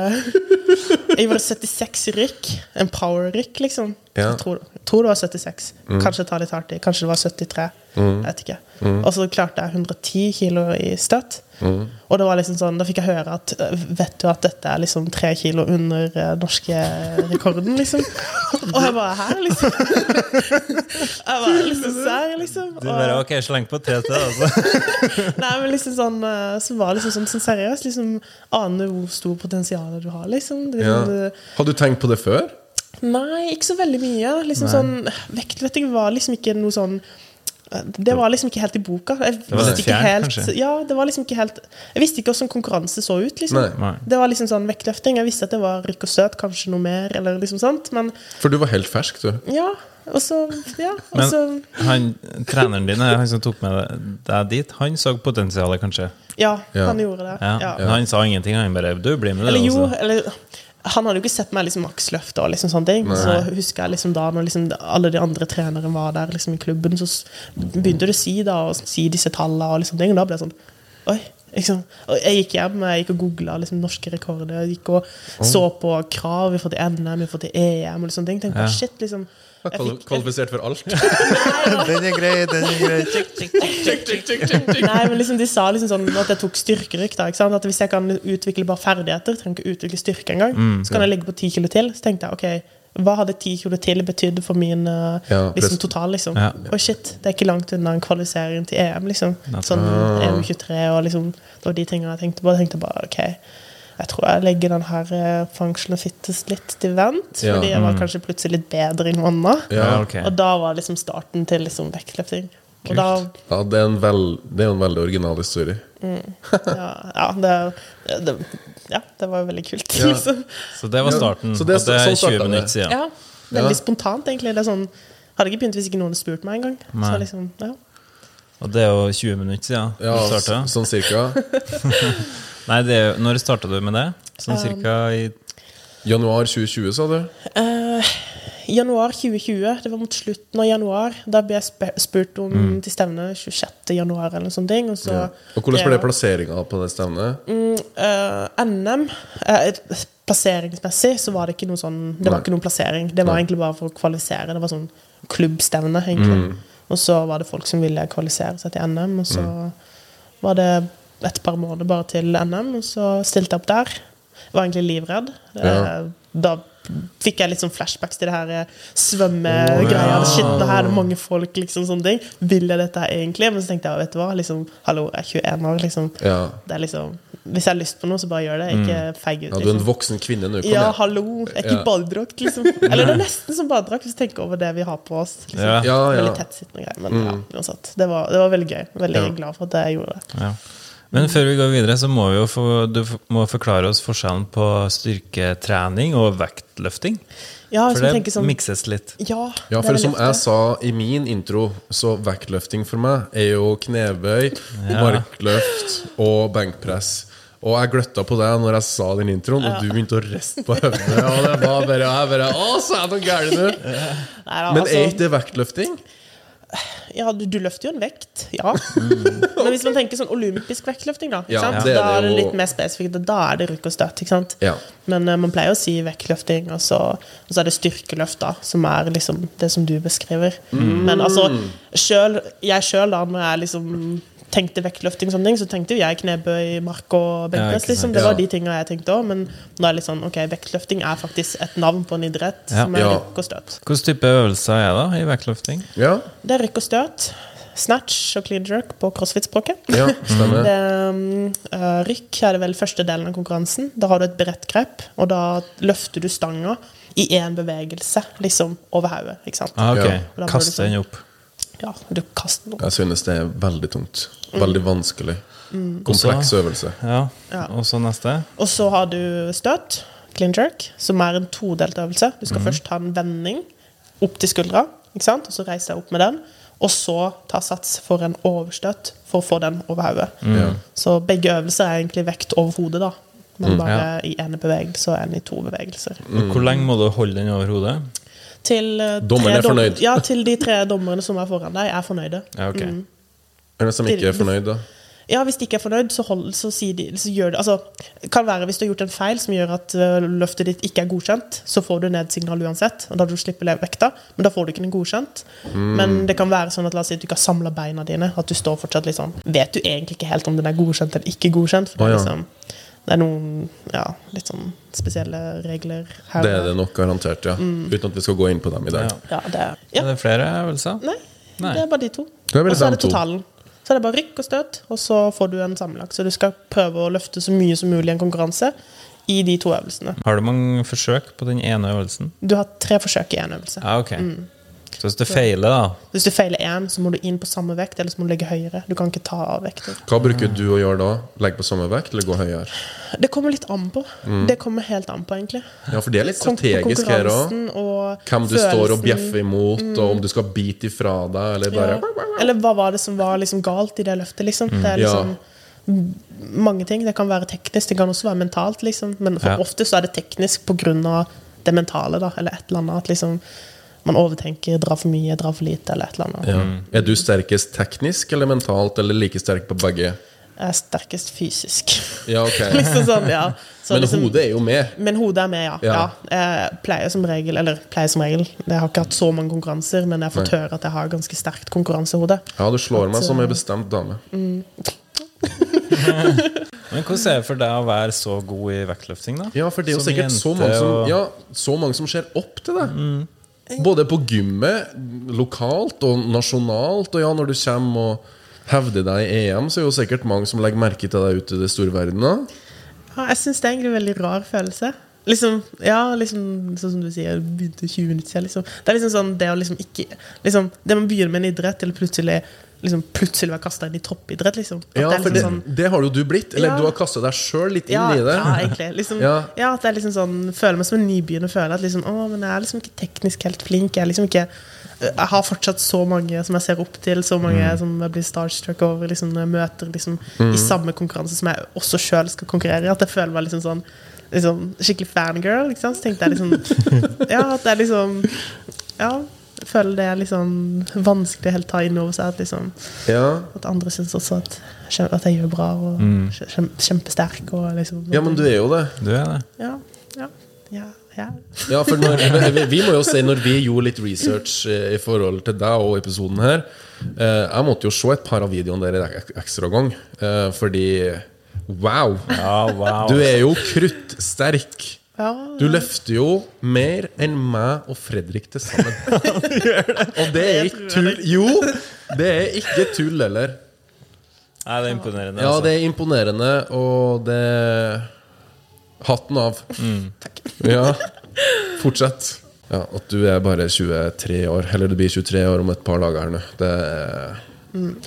S2: Jeg gjorde 76 rykk. En power-rykk, liksom.
S3: Ja.
S2: Jeg tror, jeg tror det var 76.
S4: Mm.
S2: Kanskje jeg tar litt hardt i. Kanskje det var 73. Jeg vet ikke.
S4: Mm.
S2: Og så klarte jeg 110 kilo i støtt. Og det var liksom sånn, da fikk jeg høre at eh, Vet du at dette er liksom tre kilo under eh, norske rekorden, liksom? Og jeg bare Hæ, liksom? jeg bare liksom sær, liksom.
S4: Du
S2: Og-
S4: bare, ok, sleng på tre til, altså.
S2: Nei, men liksom sånn eh, Så var det liksom sånn, sånn seriøst. Liksom, Ane hvor stor potensial du har, liksom. Det, er
S3: Ja.
S2: liksom det-
S3: Hadde du tenkt på det før?
S2: Nei, ikke så veldig mye. Liksom sånn, Vektløfting var liksom ikke noe sånn det var liksom ikke helt i boka. Jeg
S4: var litt
S2: visste ikke
S4: fjernt,
S2: helt,
S4: kanskje?
S2: ja, det var liksom ikke helt Jeg visste ikke hvordan konkurranse så ut. liksom
S3: Nei.
S4: Nei.
S2: Det var liksom sånn vektløfting. Jeg visste at det var rykk og støt, kanskje noe mer. eller liksom sånt Men
S3: For du var helt fersk, du.
S2: ja, og så ja, og så,
S4: Men han, treneren din, han som tok med deg dit, han så potensialet, kanskje?
S2: ja,
S3: Ja.
S2: han gjorde det.
S4: Ja. Men han sa ingenting, han bare, du blir med det,
S2: Eller jo,
S4: altså.
S2: eller han hadde jo ikke sett meg liksom maksløfte og liksom sånne ting. Så husker jeg liksom da når liksom alle de andre trenerne var der liksom i klubben, så s- begynte de å si da og si disse tallene og liksom ting, og da ble jeg sånn Oi. Liksom. Og jeg gikk hjem jeg gikk og googla liksom, norske rekorder. Jeg gikk og så på krav i forhold til NM, i forhold til EM og sånne ting. Tenkte,
S4: Ja.
S2: bare, shit, liksom jeg
S3: Kval-
S2: fikk-
S3: Kvalifisert for alt.
S5: Den er grei, den er grei.
S2: Nei, men liksom, De sa liksom sånn at jeg tok styrkerykk. da, ikke sant? At Hvis jeg kan utvikle bare ferdigheter, trenger ikke utvikle styrke engang,
S3: Mm,
S2: så kan jeg ligge på ti kilo til. Så tenkte jeg ok, hva hadde ti kilo til betydd for min eh,
S3: Ja,
S2: liksom,
S3: pluss-
S2: total? liksom?
S4: Ja.
S2: Og shit, det er ikke langt unna en kvalifisering til EM. liksom. Sånn
S3: Ah.
S2: EU23 og liksom, det var de tingene jeg tenkte på. Jeg tenkte bare ok, jeg tror jeg legger den her eh, function og fittes litt til vent,
S3: Ja. Mm.
S2: fordi jeg var kanskje plutselig litt bedre i noe annet.
S4: Ja,
S3: Ja.
S4: ok.
S2: Og da var liksom starten til liksom vektløfting. Og da
S3: Ja, det er en vel, det er jo en veldig original historie.
S2: Ja, ja, det, det, ja, det var jo veldig kult.
S3: Ja.
S2: Liksom.
S4: Så det
S3: Ja,
S4: var starten.
S3: så det
S4: og det
S3: er så-
S4: er
S3: sånn startet
S4: 20
S3: det.
S4: minutter siden.
S2: Ja. Veldig
S3: Ja.
S2: spontant, egentlig. Det er sånn, hadde ikke begynt hvis ikke noen hadde spurt meg engang. Så
S4: Nei.
S2: liksom, ja.
S4: Og det er jo 20 minutter siden
S3: Ja,
S4: du starta.
S3: s- sånn cirka.
S4: Nei, det er, jo- når starta du med det? Sånn cirka i
S3: Januar 2020, sa du?
S2: Eh, januar 2020, det var mot slutten av januar. Da ble jeg spe- spurt om til stevne 26. januar eller noe sånt. ting, Og så
S3: Mm. Ja. Og hvordan ble
S2: Ja.
S3: det plasseringa på det stevnet?
S2: Eh, NM eh, Plasseringsmessig så var det ikke noe sånn Det var
S3: Nei.
S2: ikke noen plassering. Det var
S3: Nei.
S2: egentlig bare for å kvalifisere. Det var sånn klubbstevne, egentlig.
S3: Mm.
S2: Og så var det folk som ville kvalifisere seg til NM, og så var det et par måneder bare til NM, og så stilte jeg opp der. Jeg var egentlig livredd.
S3: Ja.
S2: Eh, Da fikk jeg litt sånn flashbacks til det her eh, svømmegreia. Shit, nå er det mange folk, liksom sånne ting. Vil jeg dette her egentlig? Men så tenkte jeg, vet du hva, liksom, hallo, jeg er 21 år, liksom.
S3: Ja.
S2: Det er liksom Hvis jeg har lyst på noe, så bare gjør det. Ikke feig ut.
S3: Mm. Ja, du er en
S2: liksom.
S3: voksen kvinne nå. Kom
S2: Ja,
S3: igjen.
S2: hallo. Jeg er ikke
S3: Ja.
S2: i badedrakt, liksom. Eller det er nesten som badedrakt, hvis du tenker over det vi har på oss. Liksom.
S4: Ja.
S3: Ja, ja. Mm.
S2: Veldig tettsittende greier. Men ja, uansett. Det var, det var veldig gøy. Veldig
S3: Ja.
S2: glad for at jeg gjorde det.
S4: Ja. Men før vi går videre, så må vi jo få, du f- må forklare oss forskjellen på styrketrening og vektløfting.
S2: Ja, hvis
S4: For
S2: man
S4: det
S2: tenker sånn
S4: mikses litt.
S2: Ja,
S3: Ja,
S2: det
S3: for
S2: er
S3: som
S2: veldig
S3: jeg
S2: ofte.
S3: sa i min intro, så vektløfting for meg er jo knebøy, markløft og benkpress. Og jeg gløtta på deg når jeg sa den introen, og du begynte å riste på høvene. Og det var bare, jeg bare, Å, så er det noe gærent nå!
S2: Nei, da,
S3: Men
S2: altså-
S3: er ikke det vektløfting?
S2: Ja, du, du løfter jo en vekt, ja. Men hvis man tenker sånn olympisk vektløfting, da, ikke
S3: Mm. Ja,
S2: sant?
S3: det er
S2: da
S3: det
S2: er det
S3: jo.
S2: litt mer spesifikt. og Da er det rykk og støt. Ikke sant?
S3: Ja.
S2: Men eh, man pleier å si vektløfting, og så, og så er det styrkeløft, da, som er liksom det som du beskriver.
S3: Mm.
S2: Men altså, selv, jeg sjøl, da, når jeg liksom tenkte vektløfting, og sånne ting, så tenkte jo jeg knebøy, mark og
S4: Ja,
S2: benkpress.
S4: ikke sant.
S2: liksom. Det var
S3: Ja.
S2: de tinga jeg tenkte òg. Men da er det litt sånn, ok, vektløfting er faktisk et navn på en idrett
S4: Ja.
S2: som er
S3: Ja.
S2: rykk og støt.
S4: Hvilken type øvelser er det da i vektløfting?
S3: Ja,
S2: Det er rykk og støt. Snatch og clean jerk på crossfit-språket.
S3: ja stemmer.
S2: Det, um, eh, rykk er det vel første delen av konkurransen. Da har du et bredt grep, og da løfter du stanga i én bevegelse, liksom over hodet. Ikke sant?
S4: Ah,
S3: Ja.
S4: ok. Kaste den opp.
S2: Ja, du kaster den opp.
S3: Jeg synes det er veldig tungt.
S2: Mm.
S3: Veldig vanskelig. Kompleks øvelse.
S4: Ja.
S2: Ja.
S4: Og så neste.
S2: Og så har du støt, clean jerk, som er en todelt øvelse. Du skal først ta en vending opp til skuldra, ikke sant? og så reise deg opp med den. Og så ta sats for en overstøt for å få den over hodet.
S3: Ja.
S2: Så begge øvelser er egentlig vekt over hodet, da. Men bare
S4: Ja.
S2: i ene bevegelse og en i to bevegelser.
S4: Og
S3: Mm.
S4: hvor lenge må du holde den over hodet?
S2: Til, eh, tre
S3: Dommeren er fornøyd.
S2: Dom ja, til de tre dommerne som er foran deg, er fornøyde. Mm.
S4: Ja, ok.
S3: Er det som ikke er fornøyd, da?
S2: Ja, Hvis de ikke er fornøyd, så, hold, så, sier de, så gjør det Altså, det kan være hvis du har gjort en feil som gjør at eh, løftet ditt ikke er godkjent, så får du nedsignal uansett, og da du slipper le- vekta, men da får du ikke den godkjent. Men
S3: Mm.
S2: det kan være sånn at la oss si at du ikke har samla beina dine, at du står fortsatt litt sånn Vet du egentlig ikke helt om den er godkjent eller ikke godkjent, for det
S3: Å,
S2: er
S3: ja.
S2: liksom det er noen ja, litt sånn spesielle regler her.
S3: Det er det nok garantert, ja.
S2: Mm.
S3: Uten at vi skal gå inn på dem i dag.
S2: Ja,
S4: Ja.
S2: det er,
S4: Er
S2: ja.
S4: det flere øvelser?
S2: Nei,
S4: Nei.
S2: det er bare de to.
S3: er bare
S2: Og så er
S3: de
S2: det
S3: to.
S2: totalen. Så er det bare rykk og støt, og så får du en sammenlagt. Så du skal prøve å løfte så mye som mulig i en konkurranse i de to øvelsene.
S4: Har du mange forsøk på den ene øvelsen?
S2: Du har tre forsøk i én øvelse.
S4: Ja, ok.
S2: Mm.
S4: Så hvis det feiler, da
S2: Hvis du feiler én, så må du inn på samme vekt, eller så må du ligge høyere. Du kan ikke ta av vekter.
S3: Hva bruker du å gjøre da? Legge på samme vekt, eller gå høyere?
S2: Det kommer litt an på. Det kommer helt an på, egentlig.
S3: Ja, for det er Mm. litt
S2: Kon-
S3: strategisk her òg.
S2: konkurransen og
S3: Hvem du står og
S2: følelsen. Mm.
S3: bjeffer imot, og om du skal bite ifra deg, eller bare Mm.
S2: Eller hva var det som var liksom galt i det løftet, liksom. Det er liksom mange ting. Det kan være teknisk, det kan også være mentalt, liksom. Men for
S4: Ja.
S2: ofte så er det teknisk på grunn av det mentale, da, eller et eller annet. At liksom man overtenker, drar for mye, drar for lite, eller et eller annet.
S3: ja. Er du sterkest teknisk eller mentalt, eller like sterk på begge?
S2: Jeg er sterkest fysisk.
S3: Ja, ok.
S2: liksom sånn, ja. Så
S3: Men
S2: liksom-
S3: hodet er jo med.
S2: Men hodet er med, ja. ja.
S3: Ja.
S2: Jeg pleier som regel Eller pleier som regel, jeg har ikke hatt så mange konkurranser, men jeg har fått
S3: Nei.
S2: høre at jeg har ganske sterkt konkurransehode.
S3: Ja, du slår meg
S2: eh,
S3: som en bestemt dame.
S4: Men hvordan er det for deg å være så god i vektløfting, da?
S3: Ja, for det er jo
S4: Som
S3: sikkert så
S4: jente
S3: mange som,
S4: og-
S3: ja, så mange som ser opp til deg. Både på gymmet, lokalt og nasjonalt, og ja, når du kommer og hevder deg i EM, så er det jo sikkert mange som legger merke til deg ute i det store verden. da.
S2: Ja, jeg syns det er egentlig en veldig rar følelse. Liksom, ja, liksom, sånn som du sier, jeg begynte 20 minutter siden. Liksom. Det er liksom sånn det å liksom ikke liksom, Det man begynner med en idrett, eller plutselig liksom, plutselig være kasta inn i toppidrett, liksom. At
S3: Ja,
S2: det er
S3: for
S2: liksom
S3: det,
S2: sånn
S3: det har jo du blitt. Eller
S2: Ja.
S3: du har kasta deg sjøl litt inn
S2: ja,
S3: i det.
S2: ja, egentlig. Liksom, ja.
S3: Ja.
S2: at jeg liksom sånn, føler meg som en nybegynner. Føler at liksom, å, men jeg er liksom ikke teknisk helt flink. Jeg, er liksom ikke, jeg har fortsatt så mange som jeg ser opp til, så mange
S3: Mm.
S2: som jeg blir starstruck over liksom, når jeg møter liksom, i samme konkurranse som jeg også sjøl skal konkurrere i. At jeg føler meg liksom sånn liksom, skikkelig fangirl. Ikke sant? Så tenkte jeg liksom Ja, at det er liksom Ja. Jeg føler det er liksom vanskelig å helt ta inn over seg at liksom
S3: Ja.
S2: at andre syns også at, at jeg gjør bra og kjem- kjem- kjempesterk. Og liksom,
S3: Mm. ja, men du er jo det.
S4: Du er det.
S2: ja, ja, ja, ja.
S3: Ja, for når, vi, vi må jo si, når vi gjorde litt research eh, i forhold til deg og episoden her eh, Jeg måtte jo se et par av videoene der en ek- ekstra gang, eh, fordi Wow!
S4: Ja, wow.
S3: Du er jo kruttsterk.
S2: ja.
S3: Du løfter jo mer enn meg og Fredrik til sammen. Og det er ikke tull. Jo! Det er ikke tull heller.
S4: Nei, det er imponerende.
S3: Ja,
S4: altså.
S3: det er imponerende, og det Hatten av. Mm. Ja. Fortsett. Ja, At du er bare 23 år. Eller du blir 23 år om et par dager her nå. Det er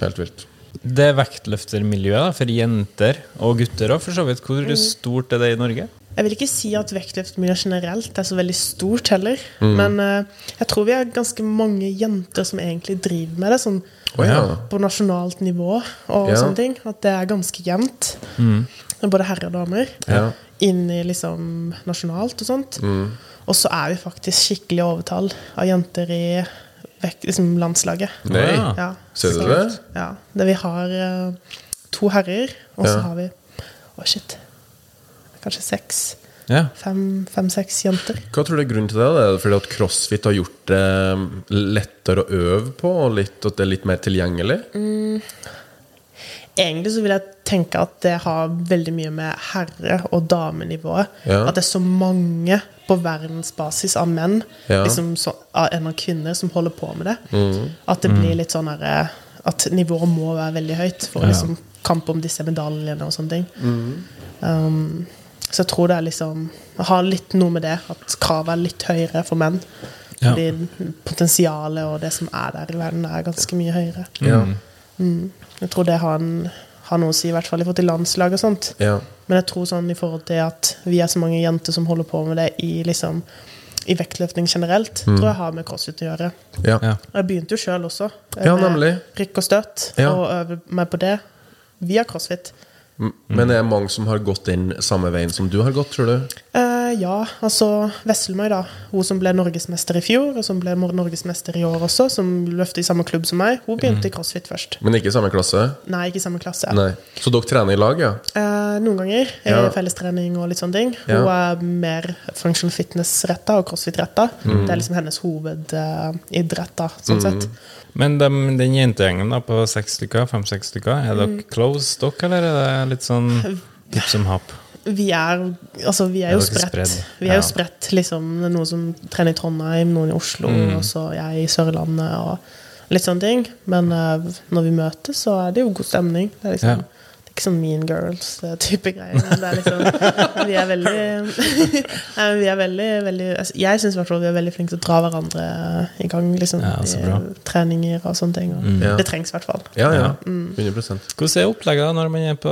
S3: helt vilt.
S4: Det vektløftermiljøet da, for jenter og gutter også, for så vidt.
S2: Mm.
S4: Hvor stort er det i Norge?
S2: Jeg vil ikke si at vektløftmiljøet generelt er så veldig stort heller.
S3: Mm.
S2: Men eh, jeg tror vi er ganske mange jenter som egentlig driver med det, sånn
S3: Å ja.
S2: på nasjonalt nivå og
S3: Ja.
S2: sånne ting. At det er ganske jevnt. med Både herrer og damer.
S3: Ja. Mm.
S2: Inn i liksom nasjonalt og sånt. Og så er vi faktisk skikkelig overtall av jenter i vekt, liksom landslaget.
S3: Nei.
S4: Ja.
S2: Ja,
S3: Ser du
S2: så-
S3: det?
S2: Ja. Det vi har eh, to herrer, og så
S3: Ja.
S2: har vi Å, shit. Kanskje seks
S4: Ja.
S2: fem-seks jenter.
S3: Hva tror du er grunnen til det? Er det fordi at crossfit har gjort det um, lettere å øve på, og litt, at det er litt mer tilgjengelig?
S2: Mm. Egentlig så vil jeg tenke at det har veldig mye med herre- og damenivået.
S3: Ja.
S2: At det er så mange på verdensbasis av menn,
S3: Ja. Mm.
S2: liksom så, av enn av kvinner, som holder på med det. At det blir litt sånn herre At nivået må være veldig høyt for liksom kamp om disse medaljene og sånne ting.
S3: Mm.
S2: Um, så jeg tror det er liksom Jeg har litt noe med det, at kravet er litt høyere for menn.
S4: Ja.
S2: Fordi potensialet og det som er der i verden, er ganske mye høyere.
S3: Ja.
S2: Jeg tror det har, en, har noe å si, i hvert fall i forhold til landslag og sånt.
S3: ja.
S2: Men jeg tror sånn i forhold til at vi er så mange jenter som holder på med det i, liksom, i vektløftning generelt,
S3: Mm.
S2: tror jeg har med crossfit å gjøre.
S3: ja.
S4: Ja.
S2: Og Jeg begynte jo sjøl også, eh,
S3: Ja,
S2: med
S3: nemlig.
S2: rykk og støt,
S3: Ja.
S2: og øve meg på det via crossfit.
S3: M- Men det er mange som har gått inn samme veien som du har gått, tror du?
S2: Eh, ja, altså Vesselmøy, da. Hun som ble norgesmester i fjor, og som ble mor- norgesmester i år også, som løfter i samme klubb som meg, hun begynte i crossfit først.
S3: Men ikke i samme klasse?
S2: Nei, ikke i samme klasse.
S3: Mm. Nei. Så dere trener i lag, ja?
S2: Eh, noen ganger. i
S3: Ja.
S2: Fellestrening og litt sånne ting. Hun
S3: Ja.
S2: er mer functional fitness-retta og crossfit-retta.
S3: Mm.
S2: Det er liksom hennes hovedidrett, da, sånn sett.
S4: Men dem- den jentegjengen da, på seks stykker, fem-seks stykker, er
S2: Mm.
S4: dere close dere, eller er det litt sånn hipp som happ?
S2: Vi er, altså, vi er jo
S4: Er dere
S2: spredt.
S4: spredd?
S2: Vi er jo
S4: Ja.
S2: spredt, liksom. Det er Noen som trener i Trondheim, noen i Oslo,
S4: Mm.
S2: og så jeg i Sørlandet og litt sånne ting. Men eh, når vi møtes, så er det jo god stemning. Det er
S4: Ja.
S2: liksom det er ikke sånn Mean Girls-type greier. Men det er liksom, vi er veldig Nei, men Vi er veldig, veldig altså, Jeg syns i hvert fall vi er veldig flinke til å dra hverandre i gang. Liksom,
S4: Ja, så bra. Mm.
S2: I treninger og sånne ting. Og
S3: Ja.
S2: Det trengs i hvert fall.
S3: Ja, ja.
S2: Mm.
S3: 100
S4: Hvordan er opplegget da, når man er på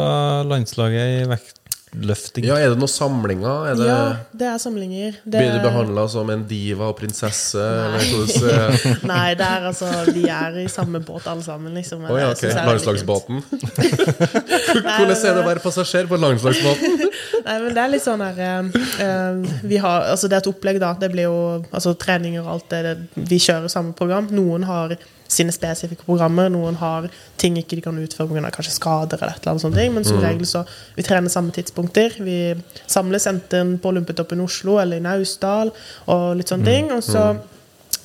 S4: landslaget i vektløfting?
S3: Ja, Er det noen samlinger? Er det,
S2: Ja, det er samlinger. Det-
S3: Blir du behandla som en diva og prinsesse? Eller
S2: Nei.
S3: hvordan eh,
S2: Nei, det er altså Vi er i samme båt alle sammen, liksom.
S3: Å ja,
S2: Jeg
S3: ok.
S2: synes det er veldig
S3: Landslagsbåten.
S2: fint. Nei,
S3: Hvordan er det å
S2: men-
S3: være passasjer på landslagsbåten?
S2: Nei, men det er litt sånn her eh, eh, Vi har Altså, det er et opplegg, da. Det blir jo altså, treninger og alt det, det Vi kjører samme program. Noen har sine spesifikke programmer, noen har ting ikke de kan utføre pga. kanskje skader eller et eller annet sånt, men
S3: Mm.
S2: som regel så Vi trener samme tidspunkter. Vi samles enten på Lumpetoppen i Oslo eller i Naustdal og litt
S3: Mm.
S2: sånne ting. Og så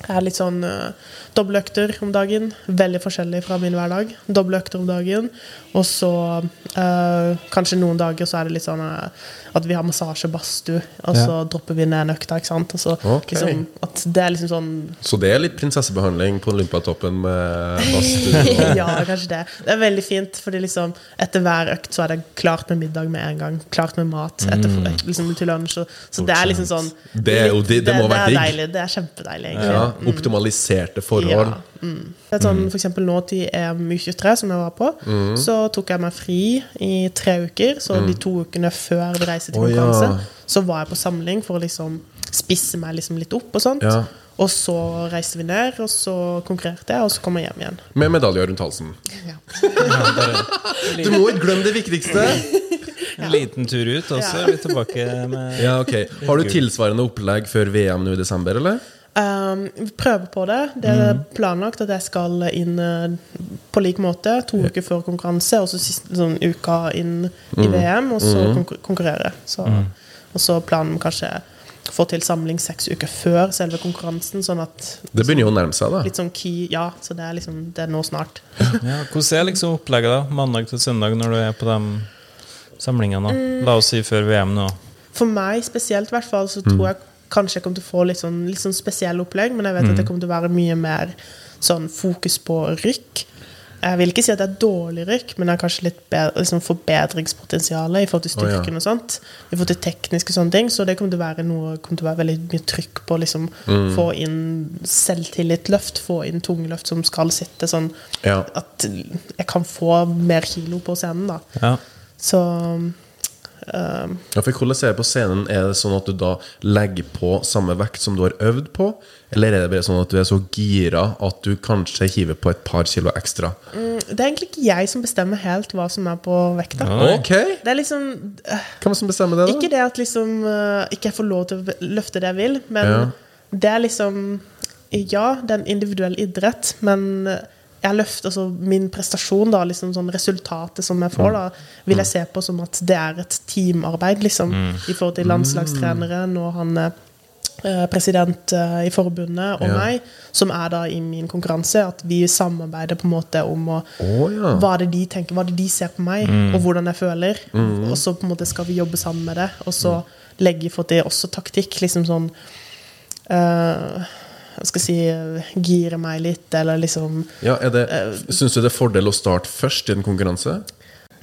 S2: er litt sånn uh, dobbeltøkter om dagen. Veldig forskjellig fra min hverdag. Dobbeltøkter om dagen. Og så eh, kanskje noen dager så er det litt sånn eh, at vi har massasje og badstue, og så dropper vi ned en økta, ikke sant. Og så
S3: Ok.
S2: liksom at Det er liksom sånn
S3: Så det er litt prinsessebehandling på Olympiatoppen med badstue. og-
S2: ja, kanskje det. Det er veldig fint, fordi liksom etter hver økt så er det klart med middag med en gang. Klart med mat etter, liksom, til lunsj. og- Så det er liksom sånn
S3: Mm. Det er jo- det- det må
S2: det
S3: være
S2: er
S3: digg.
S2: deilig. Det er kjempedeilig, egentlig.
S3: Ja, optimaliserte forhold.
S2: Mm. Ja, mm. Det er sånn, for eksempel nå til EM U23, som jeg var på,
S3: Mm.
S2: så tok jeg meg fri i tre uker. Så de to ukene før vi reiste til
S3: Å, ja.
S2: konkurranse, så var jeg på samling for å liksom spisse meg liksom litt opp og sånt.
S3: Ja.
S2: Og så reiste vi ned, og så konkurrerte jeg, og så kom jeg hjem igjen.
S3: Med medalje rundt halsen.
S2: Ja.
S3: Du må ikke glemme det viktigste!
S4: En liten tur ut, og så er vi tilbake med
S3: Ja, ok Har du tilsvarende opplegg før VM nå i desember, eller?
S2: Um, vi prøver på det. Det er planlagt at jeg skal inn eh, på lik måte to uker før konkurranse, og så siste sånn, uka inn i VM, og så konkur konkurrere. Så, Og så planen om kanskje få til samling seks uker før selve konkurransen, sånn at
S3: Det begynner jo å nærme seg, da.
S2: Litt sånn key Ja, så det er liksom Det er nå snart.
S4: Ja, hvordan er liksom opplegget da, mandag til søndag når du er på de samlingene? da?
S2: Mm.
S4: La oss si før VM nå.
S2: For meg spesielt, i hvert fall, så
S3: Mm.
S2: tror jeg kanskje jeg kommer til å få litt sånn, litt
S3: Mm.
S2: sånn spesiell opplegg, men jeg vet at det kommer til å være mye mer sånn fokus på rykk. Jeg vil ikke si at det er dårlig rykk, men det er kanskje litt bedre, liksom forbedringspotensial i forhold til
S3: Å, ja.
S2: styrken og sånt. I forhold til tekniske sånne ting. Så det kommer til å være noe kommer til å være veldig mye trykk på å liksom,
S3: Mm.
S2: få inn selvtillitløft, få inn tungløft som skal sitte sånn
S3: Ja.
S2: at jeg kan få mer kilo på scenen, da.
S4: Ja.
S2: Så
S3: Ja, for hvordan er det på scenen? Er det sånn at du da legger på samme vekt som du har øvd på? Eller er det bare sånn at du er så gira at du kanskje hiver på et par kilo ekstra?
S2: det er egentlig ikke jeg som bestemmer helt hva som er på vekta.
S3: Ok!
S2: Det er liksom
S3: Hvem som bestemmer det, da?
S2: Ikke det at liksom eh, ikke jeg får lov til å be- løfte det jeg vil, men
S3: Ja.
S2: det er liksom Ja, det er en individuell idrett, men jeg løfter altså min prestasjon, da, liksom sånn resultatet som jeg får, da, vil jeg se på som at det er et teamarbeid, liksom, i forhold til
S3: Mm.
S2: landslagstreneren og han eh, president eh, i forbundet og
S3: Ja.
S2: meg, som er da i min konkurranse, at vi samarbeider på en måte om å
S3: Å, ja.
S2: hva er det de tenker, hva er det de ser på meg, og hvordan jeg føler. Og så på en måte skal vi jobbe sammen med det, og så legge for det også taktikk. Liksom sånn eh, Jeg skal si eh, gire meg litt, eller liksom
S3: Ja, er det,
S2: Eh,
S3: Syns du det er fordel å starte først i en konkurranse?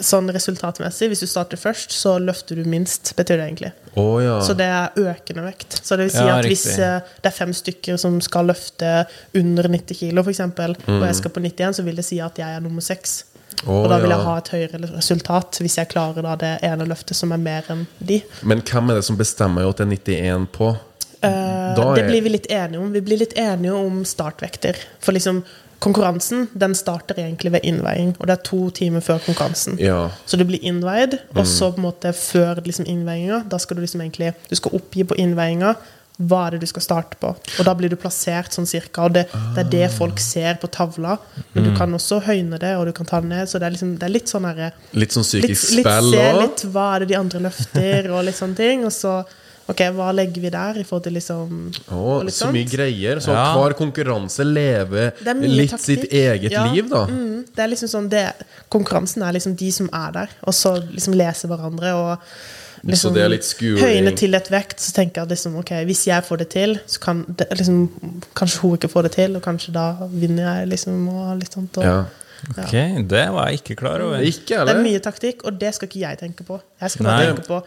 S2: sånn resultatmessig. Hvis du starter først, så løfter du minst, betyr det egentlig.
S3: Å ja.
S2: Så det er økende vekt. Så det vil si
S4: Ja,
S2: at hvis
S4: riktig.
S2: eh, det er fem stykker som skal løfte under 90 kilo, f.eks., eksempel og jeg skal på 91, så vil det si at jeg er nummer seks.
S3: Å,
S2: og da vil
S3: ja.
S2: jeg ha et høyere resultat hvis jeg klarer da det ene løftet som er mer enn de.
S3: Men hvem er det som bestemmer jo at det er 91 på?
S2: Eh,
S3: Da
S2: det
S3: er-
S2: blir vi litt enige om. Vi blir litt enige om startvekter. For liksom konkurransen den starter egentlig ved innveiing, og det er to timer før konkurransen.
S3: Ja. Mm.
S2: Så du blir innveid, og så på en måte før liksom innveiinga, da skal du liksom egentlig Du skal oppgi på innveiinga hva er det du skal starte på. Og da blir du plassert sånn cirka, og det, det er det
S3: Ah.
S2: folk ser på tavla. Men
S3: Mm.
S2: du kan også høyne det, og du kan ta det ned, så det er, liksom, det er litt sånn herre
S3: Litt sånn
S2: litt,
S3: psykisk
S2: litt
S3: spill
S2: se
S3: òg?
S2: litt hva er det de andre løfter, og litt sånne ting. Og så ok, hva legger vi der i forhold til liksom og litt
S3: så mye
S2: sånt?
S3: greier. Så
S4: Ja.
S3: hver konkurranse lever
S2: Det er mye
S3: litt
S2: taktikk.
S3: sitt eget
S2: Ja.
S3: liv, da.
S2: Mm, det er liksom sånn det, Konkurransen er liksom de som er der, og så liksom leser hverandre og liksom,
S3: Så det er litt skuring.
S2: Høyne til et vekt, så tenker jeg liksom ok, hvis jeg får det til, så kan det, liksom, kanskje hun ikke får det til, og kanskje da vinner jeg, liksom, og litt sånt. Og,
S3: Ja.
S4: Ok, det var jeg ikke klar over.
S3: Ikke jeg
S2: Det er
S3: heller.
S2: mye taktikk, og det skal ikke jeg tenke på. Jeg skal
S4: Nei.
S2: bare tenke på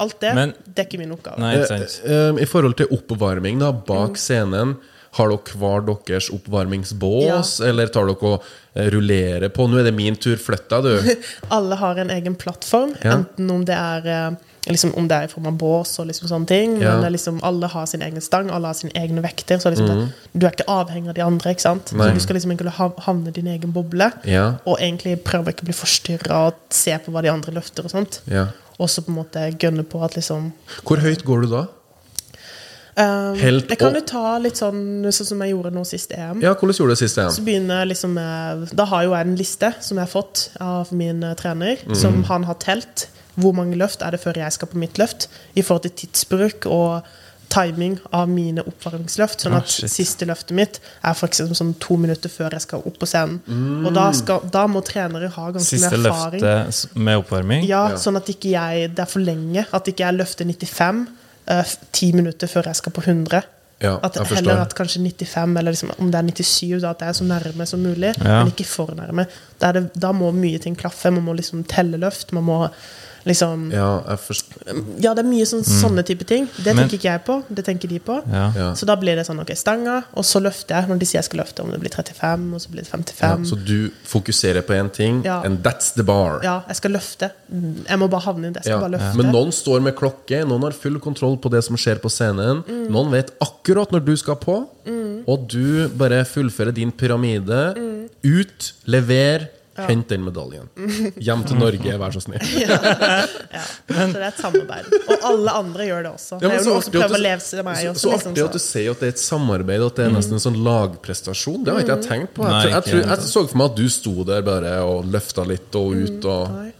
S2: alt det.
S4: Men-
S2: det er ikke min oppgave.
S4: Nei, ikke sant.
S3: Eh, eh, I forhold til oppvarming da,
S2: Mm.
S3: bak scenen, har dere hver deres oppvarmingsbås? Eller tar dere og eh, rullerer på? Nå er det min tur, flytt deg, du.
S2: Alle har en egen plattform,
S3: Ja.
S2: enten om det er eh, liksom, om det er i form av bås og liksom sånne ting.
S3: Ja.
S2: Men det er liksom, alle har sin egen stang, alle har sine egne vekter. Så liksom det, du er ikke avhengig av de andre. ikke sant?
S3: Mm. Nei.
S2: Så Du skal liksom egentlig hav- havne i din egen boble.
S3: Ja.
S2: Og egentlig prøve å ikke å bli forstyrra og se på hva de andre løfter og sånt.
S3: Ja.
S2: Og så på en måte gønne på at liksom
S3: Hvor høyt går du da?
S2: eh,
S3: Helt
S2: Jeg kan
S3: opp.
S2: jo ta litt sånn, sånn som jeg gjorde nå sist EM.
S3: Ja, hvordan gjorde du det sist igjen?
S2: Så begynner jeg liksom med, Da har jo jeg en liste som jeg har fått av min eh, trener,
S4: Mhm.
S2: som han har telt. Hvor mange løft er det før jeg skal på mitt løft? I forhold til tidsbruk og timing av mine oppvarmingsløft. Sånn
S4: Ah,
S2: at
S4: shit.
S2: siste løftet mitt er for eksempel sånn to minutter før jeg skal opp på scenen. Og da, skal, da må trenere ha
S3: eh,
S2: ganske mye
S4: Mm. Siste
S2: erfaring.
S4: løftet s- med oppvarming.
S2: Ja, Sånn at ikke jeg, det er for lenge. At ikke jeg løfter 95 eh, f- ti minutter før jeg skal på 100.
S3: Ja,
S2: at
S3: jeg forstår.
S2: heller at kanskje 95, eller liksom, om det er 97, da, at det er så nærme som mulig.
S4: Ja.
S2: Men ikke for nærme. Da, er det, da må mye ting klaffe. Man må liksom telle løft. Man må liksom
S3: Ja, jeg forstår.
S2: Ja, det er mye sånn, sånne type ting. Det
S4: Mm. Men-
S2: tenker ikke jeg på. Det tenker de på.
S4: Ja.
S3: Ja.
S2: Så da blir det sånn ok, stanga, og så løfter jeg når de sier jeg skal løfte. Om det blir 35, og så blir det 55.
S3: Ja, så du fokuserer på én ting,
S2: Um. Ja.
S3: and that's the bar.
S2: Ja, jeg skal løfte. Mm, Jeg må bare havne i det. Jeg skal
S3: Ja.
S2: bare løfte.
S3: Men noen står med klokke, noen har full kontroll på det som skjer på scenen. Noen vet akkurat når du skal på, og du bare fullfører din pyramide. Ut, lever, hent den medaljen. Hjem til Norge, vær så snill.
S2: Ja, så det er et samarbeid. Og alle andre gjør det også.
S3: Ja,
S2: det
S3: men
S2: er
S3: så
S2: jo noen som
S3: artig at
S2: prøver å
S3: du-
S2: leve seg meg
S3: så-
S2: også.
S3: Så
S2: liksom,
S3: artig at du sier at det er et samarbeid, at det er nesten en sånn lagprestasjon. Det har ikke jeg tenkt på. Jeg,
S4: Nei,
S3: tror, jeg,
S4: ikke
S3: tror,
S4: jeg
S3: jeg så for meg at du sto der bare og løfta litt og ut og
S2: Mm, Nei.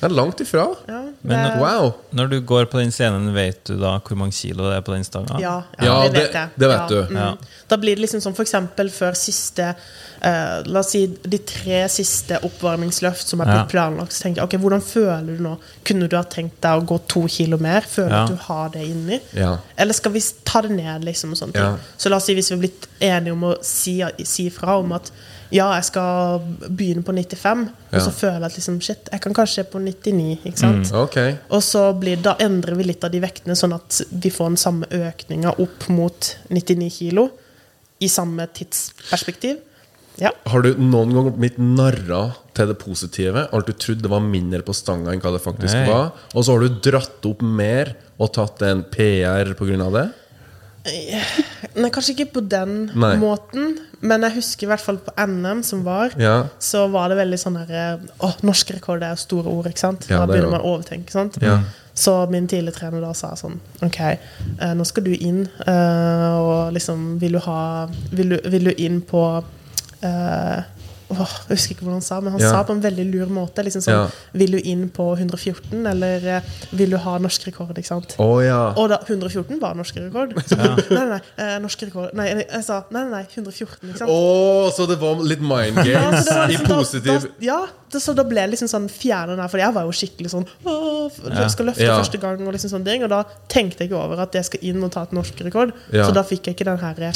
S3: Det er langt ifra.
S2: Ja, det,
S4: Men-
S3: Wow.
S4: Når du går på den scenen, vet du da hvor mange kilo det er på den stanga?
S2: ja, ja,
S3: Ja,
S2: det
S3: det-
S2: vet jeg.
S3: det vet
S2: ja,
S3: du.
S2: Mm.
S4: Ja.
S2: Da blir det liksom sånn for eksempel før siste eh, La oss si de tre siste oppvarmingsløft som er blitt planlagt. Så tenker jeg, ok, Hvordan føler du nå? Kunne du ha tenkt deg å gå to kilo mer? Føler du
S4: Ja.
S2: at du har det inni?
S3: Ja.
S2: Eller skal vi ta det ned, liksom. Og sånne ting.
S3: Ja.
S2: Så la oss si hvis vi har blitt enige om å si, si fra om at ja, jeg skal begynne på 95, og
S3: Ja.
S2: så føler jeg at liksom, shit, jeg kan kanskje på 99. ikke
S4: Mm.
S2: sant?
S3: Ok.
S2: Og så blir, da endrer vi litt av de vektene, sånn at vi får den samme økninga opp mot 99 kilo i samme tidsperspektiv. Ja.
S3: Har du noen gang blitt narra til det positive? Alt du trodde det var mindre på stanga enn hva det faktisk
S4: Nei.
S3: var? Og så har du dratt opp mer og tatt en PR pga. det?
S2: Nei, kanskje ikke på den
S3: Nei.
S2: måten, men jeg husker i hvert fall på NM som var,
S3: Ja.
S2: så var det veldig sånn der Å, norsk rekord det er jo store ord, ikke sant?
S3: Ja,
S2: da
S3: det er
S2: begynner
S3: jo.
S2: man å overtenke, sant?
S3: Ja.
S2: Så min tidligere trener da sa sånn OK, eh, nå skal du inn, eh, og liksom Vil du ha Vil du, vil du inn på eh, åh, jeg husker ikke hvordan han sa, men han
S3: Ja.
S2: sa på en veldig lur måte. Liksom sånn,
S3: Ja.
S2: Vil du inn på 114, eller eh, vil du ha norsk rekord? ikke sant?
S3: Å ja.
S2: Og da, 114 var norsk rekord. Så, Nei, nei, nei, eh, norsk rekord Nei, jeg, jeg sa nei, nei, nei, 114, ikke sant?
S3: Å, så det var litt mind
S2: Ja, så
S3: games
S2: det var
S3: i
S2: liksom da-
S3: positiv
S2: da, ja, det, så da ble jeg liksom sånn fjerna der, for jeg var jo skikkelig sånn Åh, jeg skal løfte
S3: Ja.
S2: første gang, og liksom sånne ting. Og da tenkte jeg ikke over at jeg skal inn og ta et norsk rekord.
S3: Ja.
S2: Så da fikk jeg ikke den her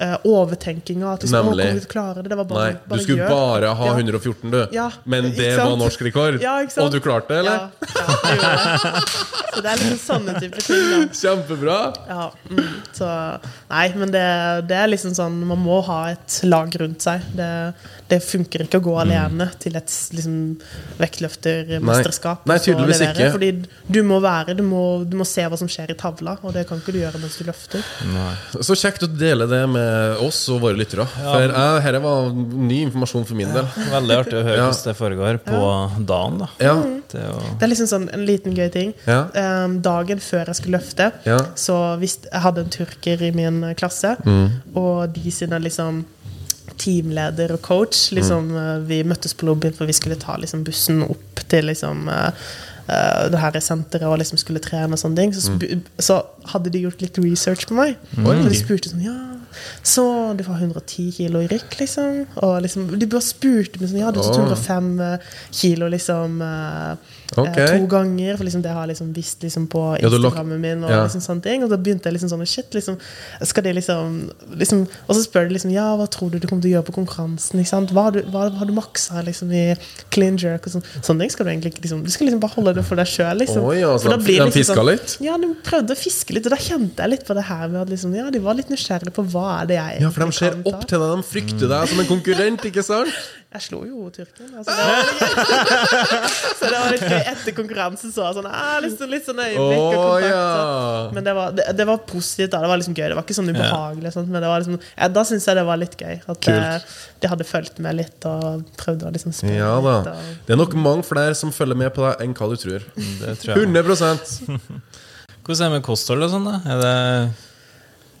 S2: eh, overtenkinga. At liksom, Nemlig. Å, kommer du
S3: Nemlig.
S2: til å klare det? Det var bare,
S3: Nei, du
S2: bare
S3: skulle
S2: gjør.
S3: bare ha
S2: Ja.
S3: 114, du.
S2: Ja,
S3: Men
S2: ikke
S3: det
S2: sant?
S3: var norsk rekord.
S2: Ja, ikke sant?
S3: Og du klarte det, eller?
S2: Ja, ja, jeg gjorde det. Så det er liksom sånne type ting. Da.
S3: Kjempebra!
S2: Ja, mm, så Nei, men det, det er liksom sånn Man må ha et lag rundt seg. Det, det funker ikke å gå alene til et liksom, vektløftermesterskap.
S3: Mm. Nei. Nei,
S2: og så
S3: tydeligvis
S2: levere,
S3: ikke.
S2: Fordi du må være du må, du må se hva som skjer i tavla, og det kan ikke du gjøre mens du løfter.
S3: Så kjekt å dele det med oss og våre lyttere. For jeg, dette var ny informasjon for min del.
S4: Veldig artig å høre
S3: Ja.
S4: hvordan det foregår på dagen. da
S3: Ja,
S4: det er jo,
S2: Det er liksom sånn en liten gøy ting.
S3: Ja.
S2: Ehm, dagen før jeg skulle løfte,
S3: Ja.
S2: så hvis jeg hadde en turker i min eh, klasse,
S3: Mm.
S2: og de sine liksom teamleder og coach liksom,
S3: Mm.
S2: eh, Vi møttes på lobbyen, for vi skulle ta liksom, bussen opp til liksom eh, eh, det her senteret og liksom skulle trene og sånne ting. Så, spu-
S3: Mm.
S2: så hadde de gjort litt research på meg. Og de spurte sånn Ja, så du var 110 kilo i rykk, liksom. Og liksom, de bare spurte meg sånn Ja, du tok
S3: Åh.
S2: 105 eh, kilo, liksom. eh,
S3: Ok.
S2: eh, to ganger. For liksom det har jeg liksom visst liksom på
S3: Ja, du lagt-
S2: Instagrammen min. Og
S3: ja.
S2: liksom sånne ting Og da begynte jeg liksom sånn Shit, liksom skal det liksom, liksom Og så spør de liksom Ja, hva tror du du kommer til å gjøre på konkurransen? Ikke sant? Hva har du, hva, hva har du maksa liksom, i clean jerk? Og sånn Sånne ting skal du egentlig ikke liksom Du skal liksom bare holde det for deg sjøl. Liksom.
S3: Oi, altså, ja, så
S2: For da
S3: de-
S2: blir det
S3: de fiska litt?
S2: Ja, de prøvde å fiske litt. Og da kjente jeg litt på det her med at liksom, ja, de var litt nysgjerrige på hva er det jeg
S3: ja for de
S2: egentlig
S3: ser
S2: kan ta.
S3: opp til deg. De frykter deg som en konkurrent, ikke sant?
S2: Jeg slo jo tyrken. Altså, det var litt
S3: Ah!
S2: gøy. så det var litt gøy. Etter konkurransen så var jeg sånn ah, litt, sånn- litt sånn øyeblikk og
S3: Å,
S2: kontakt.
S3: ja.
S2: så- Men det var, det, det var positivt. da Det var liksom gøy. Det var ikke sånn ubehagelig. og sånt, men det var liksom, ja, da syns jeg det var litt gøy. At eh, de hadde fulgt med litt og prøvd å liksom spille
S3: Ja da.
S2: litt. Og,
S3: Det er nok mange flere som følger med på deg enn hva du tror.
S4: det tror jeg.
S3: 100
S4: Hvordan er det med kosthold og sånn, da? Er det,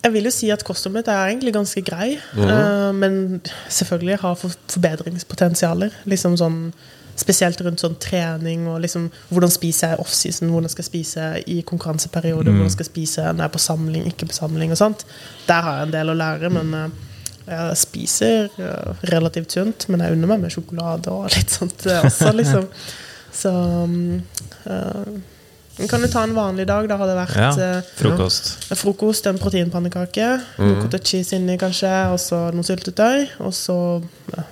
S2: jeg vil jo si at kosten mitt er egentlig ganske grei, eh, men selvfølgelig har for- forbedringspotensialer. Liksom sånn, spesielt rundt sånn trening og liksom, hvordan spiser jeg i offseason, hvordan skal jeg spise i konkurranseperioder, hvordan skal jeg spise når jeg er på samling, ikke på samling og sånt. Der har jeg en del å lære, men eh, jeg spiser eh, relativt sunt, men jeg unner meg med sjokolade og litt sånt eh, også, liksom. Så mm, eh, men kan du ta en vanlig dag? Da har det vært
S4: ja,
S2: eh,
S4: frokost. Mm.
S2: Frokost, en proteinpannekake, noe cottage cheese inni kanskje, og så noe syltetøy. Og så ja,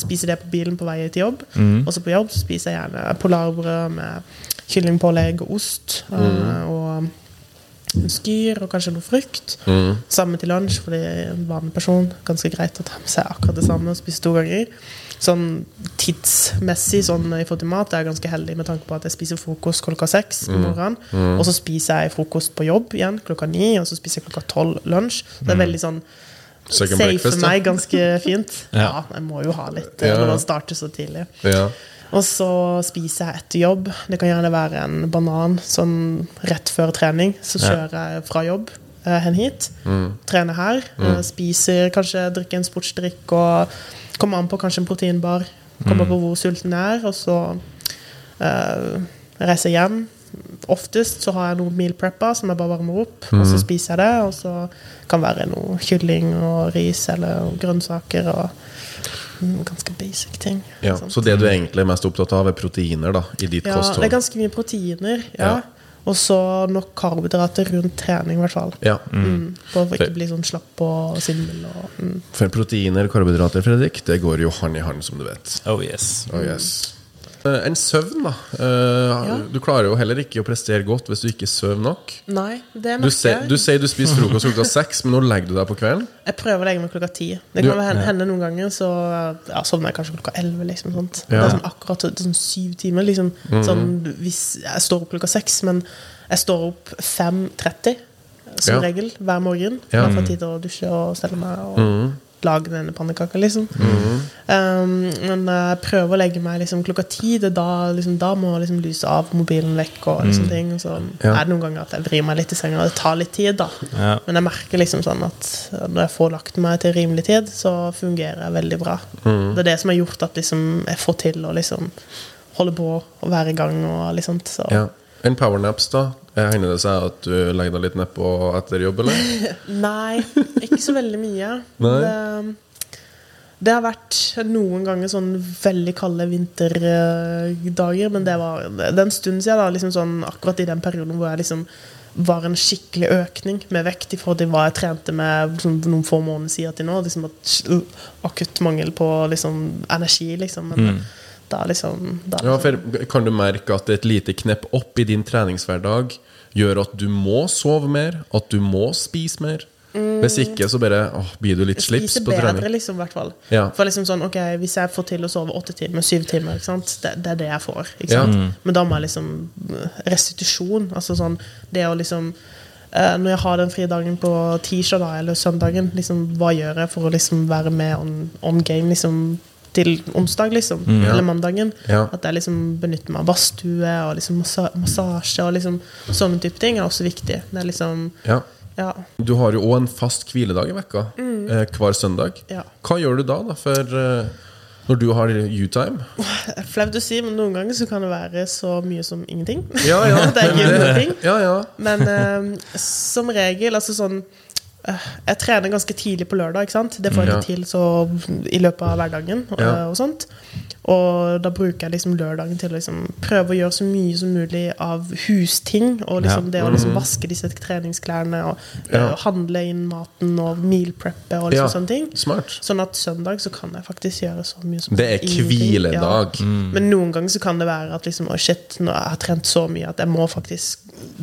S2: spiser det på bilen på vei til jobb.
S4: Mm.
S2: Og så på jobb så spiser jeg gjerne polarbrød med kyllingpålegg og ost. eh,
S4: Mm.
S2: Og en skyr og kanskje noe frukt.
S3: Mm.
S2: Samme til lunsj, fordi en vanlig person ganske greit å ta med seg akkurat det samme og spise to ganger. Sånn tidsmessig sånn i forhold til mat er jeg ganske heldig med tanke på at jeg spiser frokost klokka seks
S3: Mm.
S2: om morgenen. Og så spiser jeg frokost på jobb igjen klokka ni, og så spiser jeg klokka tolv lunsj. Så det er veldig sånn
S3: Mm. Second
S2: safe
S3: breakfast,
S2: for
S3: ja.
S2: meg ganske fint. ja.
S4: Ja.
S2: jeg må jo ha litt
S3: Ja.
S2: eh, når man starter så tidlig.
S3: Ja.
S2: Og så spiser jeg etter jobb. Det kan gjerne være en banan sånn rett før trening. Så kjører jeg fra jobb eh, hen hit, trener her, eh, spiser kanskje drikker en sportsdrikk og kommer an på kanskje en proteinbar. Kommer på hvor sulten jeg er, og så eh, reiser jeg hjem. Oftest så har jeg noe meal prepper som jeg bare varmer opp, og så spiser jeg det. Og så kan være noe kylling og ris eller grønnsaker og mm, ganske basic ting.
S3: Ja,
S2: Sånn.
S3: så det du egentlig er mest opptatt av, er proteiner da, i ditt
S2: Ja, det er
S3: kosthold?
S2: ganske mye proteiner. Ja.
S3: Ja.
S2: Og så nok karbohydrater rundt trening, i hvert fall.
S3: Ja.
S2: Mm. For å ikke bli sånn slapp og svimmel. Og, mm.
S3: For proteiner og karbohydrater, Fredrik, det går jo hand i hand, som du vet.
S4: Oh yes.
S3: Oh, yes. Eh, En søvn, da. Eh, Du klarer jo heller ikke å prestere godt hvis du ikke sover nok.
S2: Nei, det
S3: Du,
S2: merker
S3: se,
S2: jeg.
S3: du sier du spiser frokost klokka seks, men nå legger du deg på kvelden.
S2: Jeg prøver å legge meg klokka ti. Det
S3: Du-
S2: kan hende, hende noen ganger, så ja, sovner jeg kanskje klokka elleve. Liksom, sånt. Det
S3: Ja. Mhm.
S2: er sånn akkurat så- sånn syv timer. Liksom, sånn, hvis jeg står opp klokka seks, men jeg står opp 5.30 som
S3: Ja.
S2: regel hver morgen.
S3: Ja.
S2: Bare
S3: Mhm.
S2: for tid til å dusje og stelle meg og lage denne pannekaka, liksom.
S3: Mhm.
S2: Um, men jeg prøver å legge meg liksom, klokka ti. Det er da, liksom, da må liksom, lyset av, mobilen vekk og liksom, ting. Og så
S3: Mhm. Ja.
S2: er det noen ganger at jeg vrir meg litt i senga, og det tar litt tid, da.
S4: Ja.
S2: Men jeg merker liksom sånn at når jeg får lagt meg til rimelig tid, så fungerer jeg veldig bra. Det er det som har gjort at liksom, jeg får til å liksom holde på og være i gang og liksom så.
S3: Ja. En powernaps, da? Eh, Hender det seg at du legger deg litt nedpå etter jobb, eller?
S2: Nei, ikke så veldig mye.
S3: Nei.
S2: Det, det har vært noen ganger sånn veldig kalde vinterdager, men det var det er en stund siden. da, liksom sånn, Akkurat i den perioden hvor jeg liksom var en skikkelig økning med vekt i forhold til hva jeg trente med liksom, noen få måneder siden til nå. liksom at uh, Akutt mangel på liksom, energi, liksom. Men da liksom da,
S3: Mm. Ja, for kan du merke at et lite knepp opp i din treningshverdag gjør at du må sove mer, at du må spise mer? Hvis ikke, så bare åh, blir du litt slips
S2: Mm. Spise
S3: på
S2: bedre,
S3: trening.
S2: liksom, i hvert fall.
S3: Ja.
S2: For liksom sånn, ok, Hvis jeg får til å sove åtte timer, syv timer, ikke sant? Det, det er det jeg får. Ikke
S3: Ja.
S2: sant? Men da må jeg liksom Restitusjon. Altså sånn Det å liksom eh, Når jeg har den frie dagen på tirsdag da, eller søndagen, liksom, hva gjør jeg for å liksom være med on, on game liksom, til onsdag, liksom? Eller mandagen?
S3: Ja.
S2: At jeg liksom benytter meg av badstue og liksom massa massasje og liksom sånne type ting er også viktig. Det er liksom
S3: Ja.
S2: Ja.
S3: Du har jo òg en fast hviledag i vekka, eh, hver søndag.
S2: Mm. Ja.
S3: Hva gjør du da, da for eh, når du har U-time?
S2: Det er Flaut å si, men noen ganger så kan det være så mye som ingenting.
S3: Ja, ja.
S2: det er gøy med ting.
S3: Ja, ja.
S2: Men eh, som regel, altså sånn eh, Jeg trener ganske tidlig på lørdag, ikke sant? Det får jeg
S3: Ja.
S2: ikke til så i løpet av hverdagen. Og,
S3: Ja.
S2: og sånt Og da bruker jeg liksom lørdagen til å liksom prøve å gjøre så mye som mulig av husting. Og liksom
S4: Ja.
S2: det å liksom vaske disse treningsklærne, og
S3: Mm. Ja.
S2: eh, handle inn maten og mealpreppe og liksom
S3: Ja.
S2: sånne ting.
S3: Smart.
S2: Sånn at søndag så kan jeg faktisk gjøre så mye som
S3: Det er
S2: ingenting.
S3: hviledag.
S2: Ja. Men noen ganger så kan det være at liksom, «Å, shit, nå har jeg trent så mye at jeg må faktisk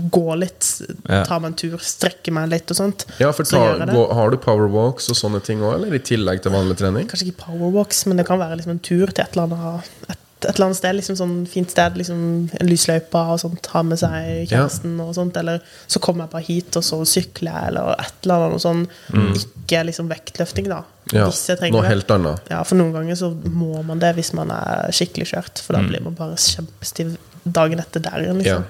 S2: gå litt.
S4: Ja.
S2: Ta meg en tur, strekke meg litt og sånt.
S3: Ja, for
S2: så gjør
S3: ta,
S2: jeg det.
S3: gå, Har du powerwalks og sånne ting òg, eller i tillegg til vanlig trening?
S2: Kanskje ikke powerwalks, men det kan være liksom en tur til et eller annet, et, et eller annet sted. Liksom sånn fint sted, liksom en lysløype og sånt. Ha med seg kjæresten og sånt. Eller så kommer jeg bare hit, og så sykler jeg, eller et eller annet sånn. Ikke liksom vektløfting, da.
S3: Mm. Ja,
S2: Hvis jeg trenger
S3: Noe
S2: det.
S3: helt annet.
S2: Ja, for noen ganger så må man det hvis man er skikkelig kjørt, for da blir man bare kjempestiv dagen etter der igjen.
S3: Ja.
S2: Liksom.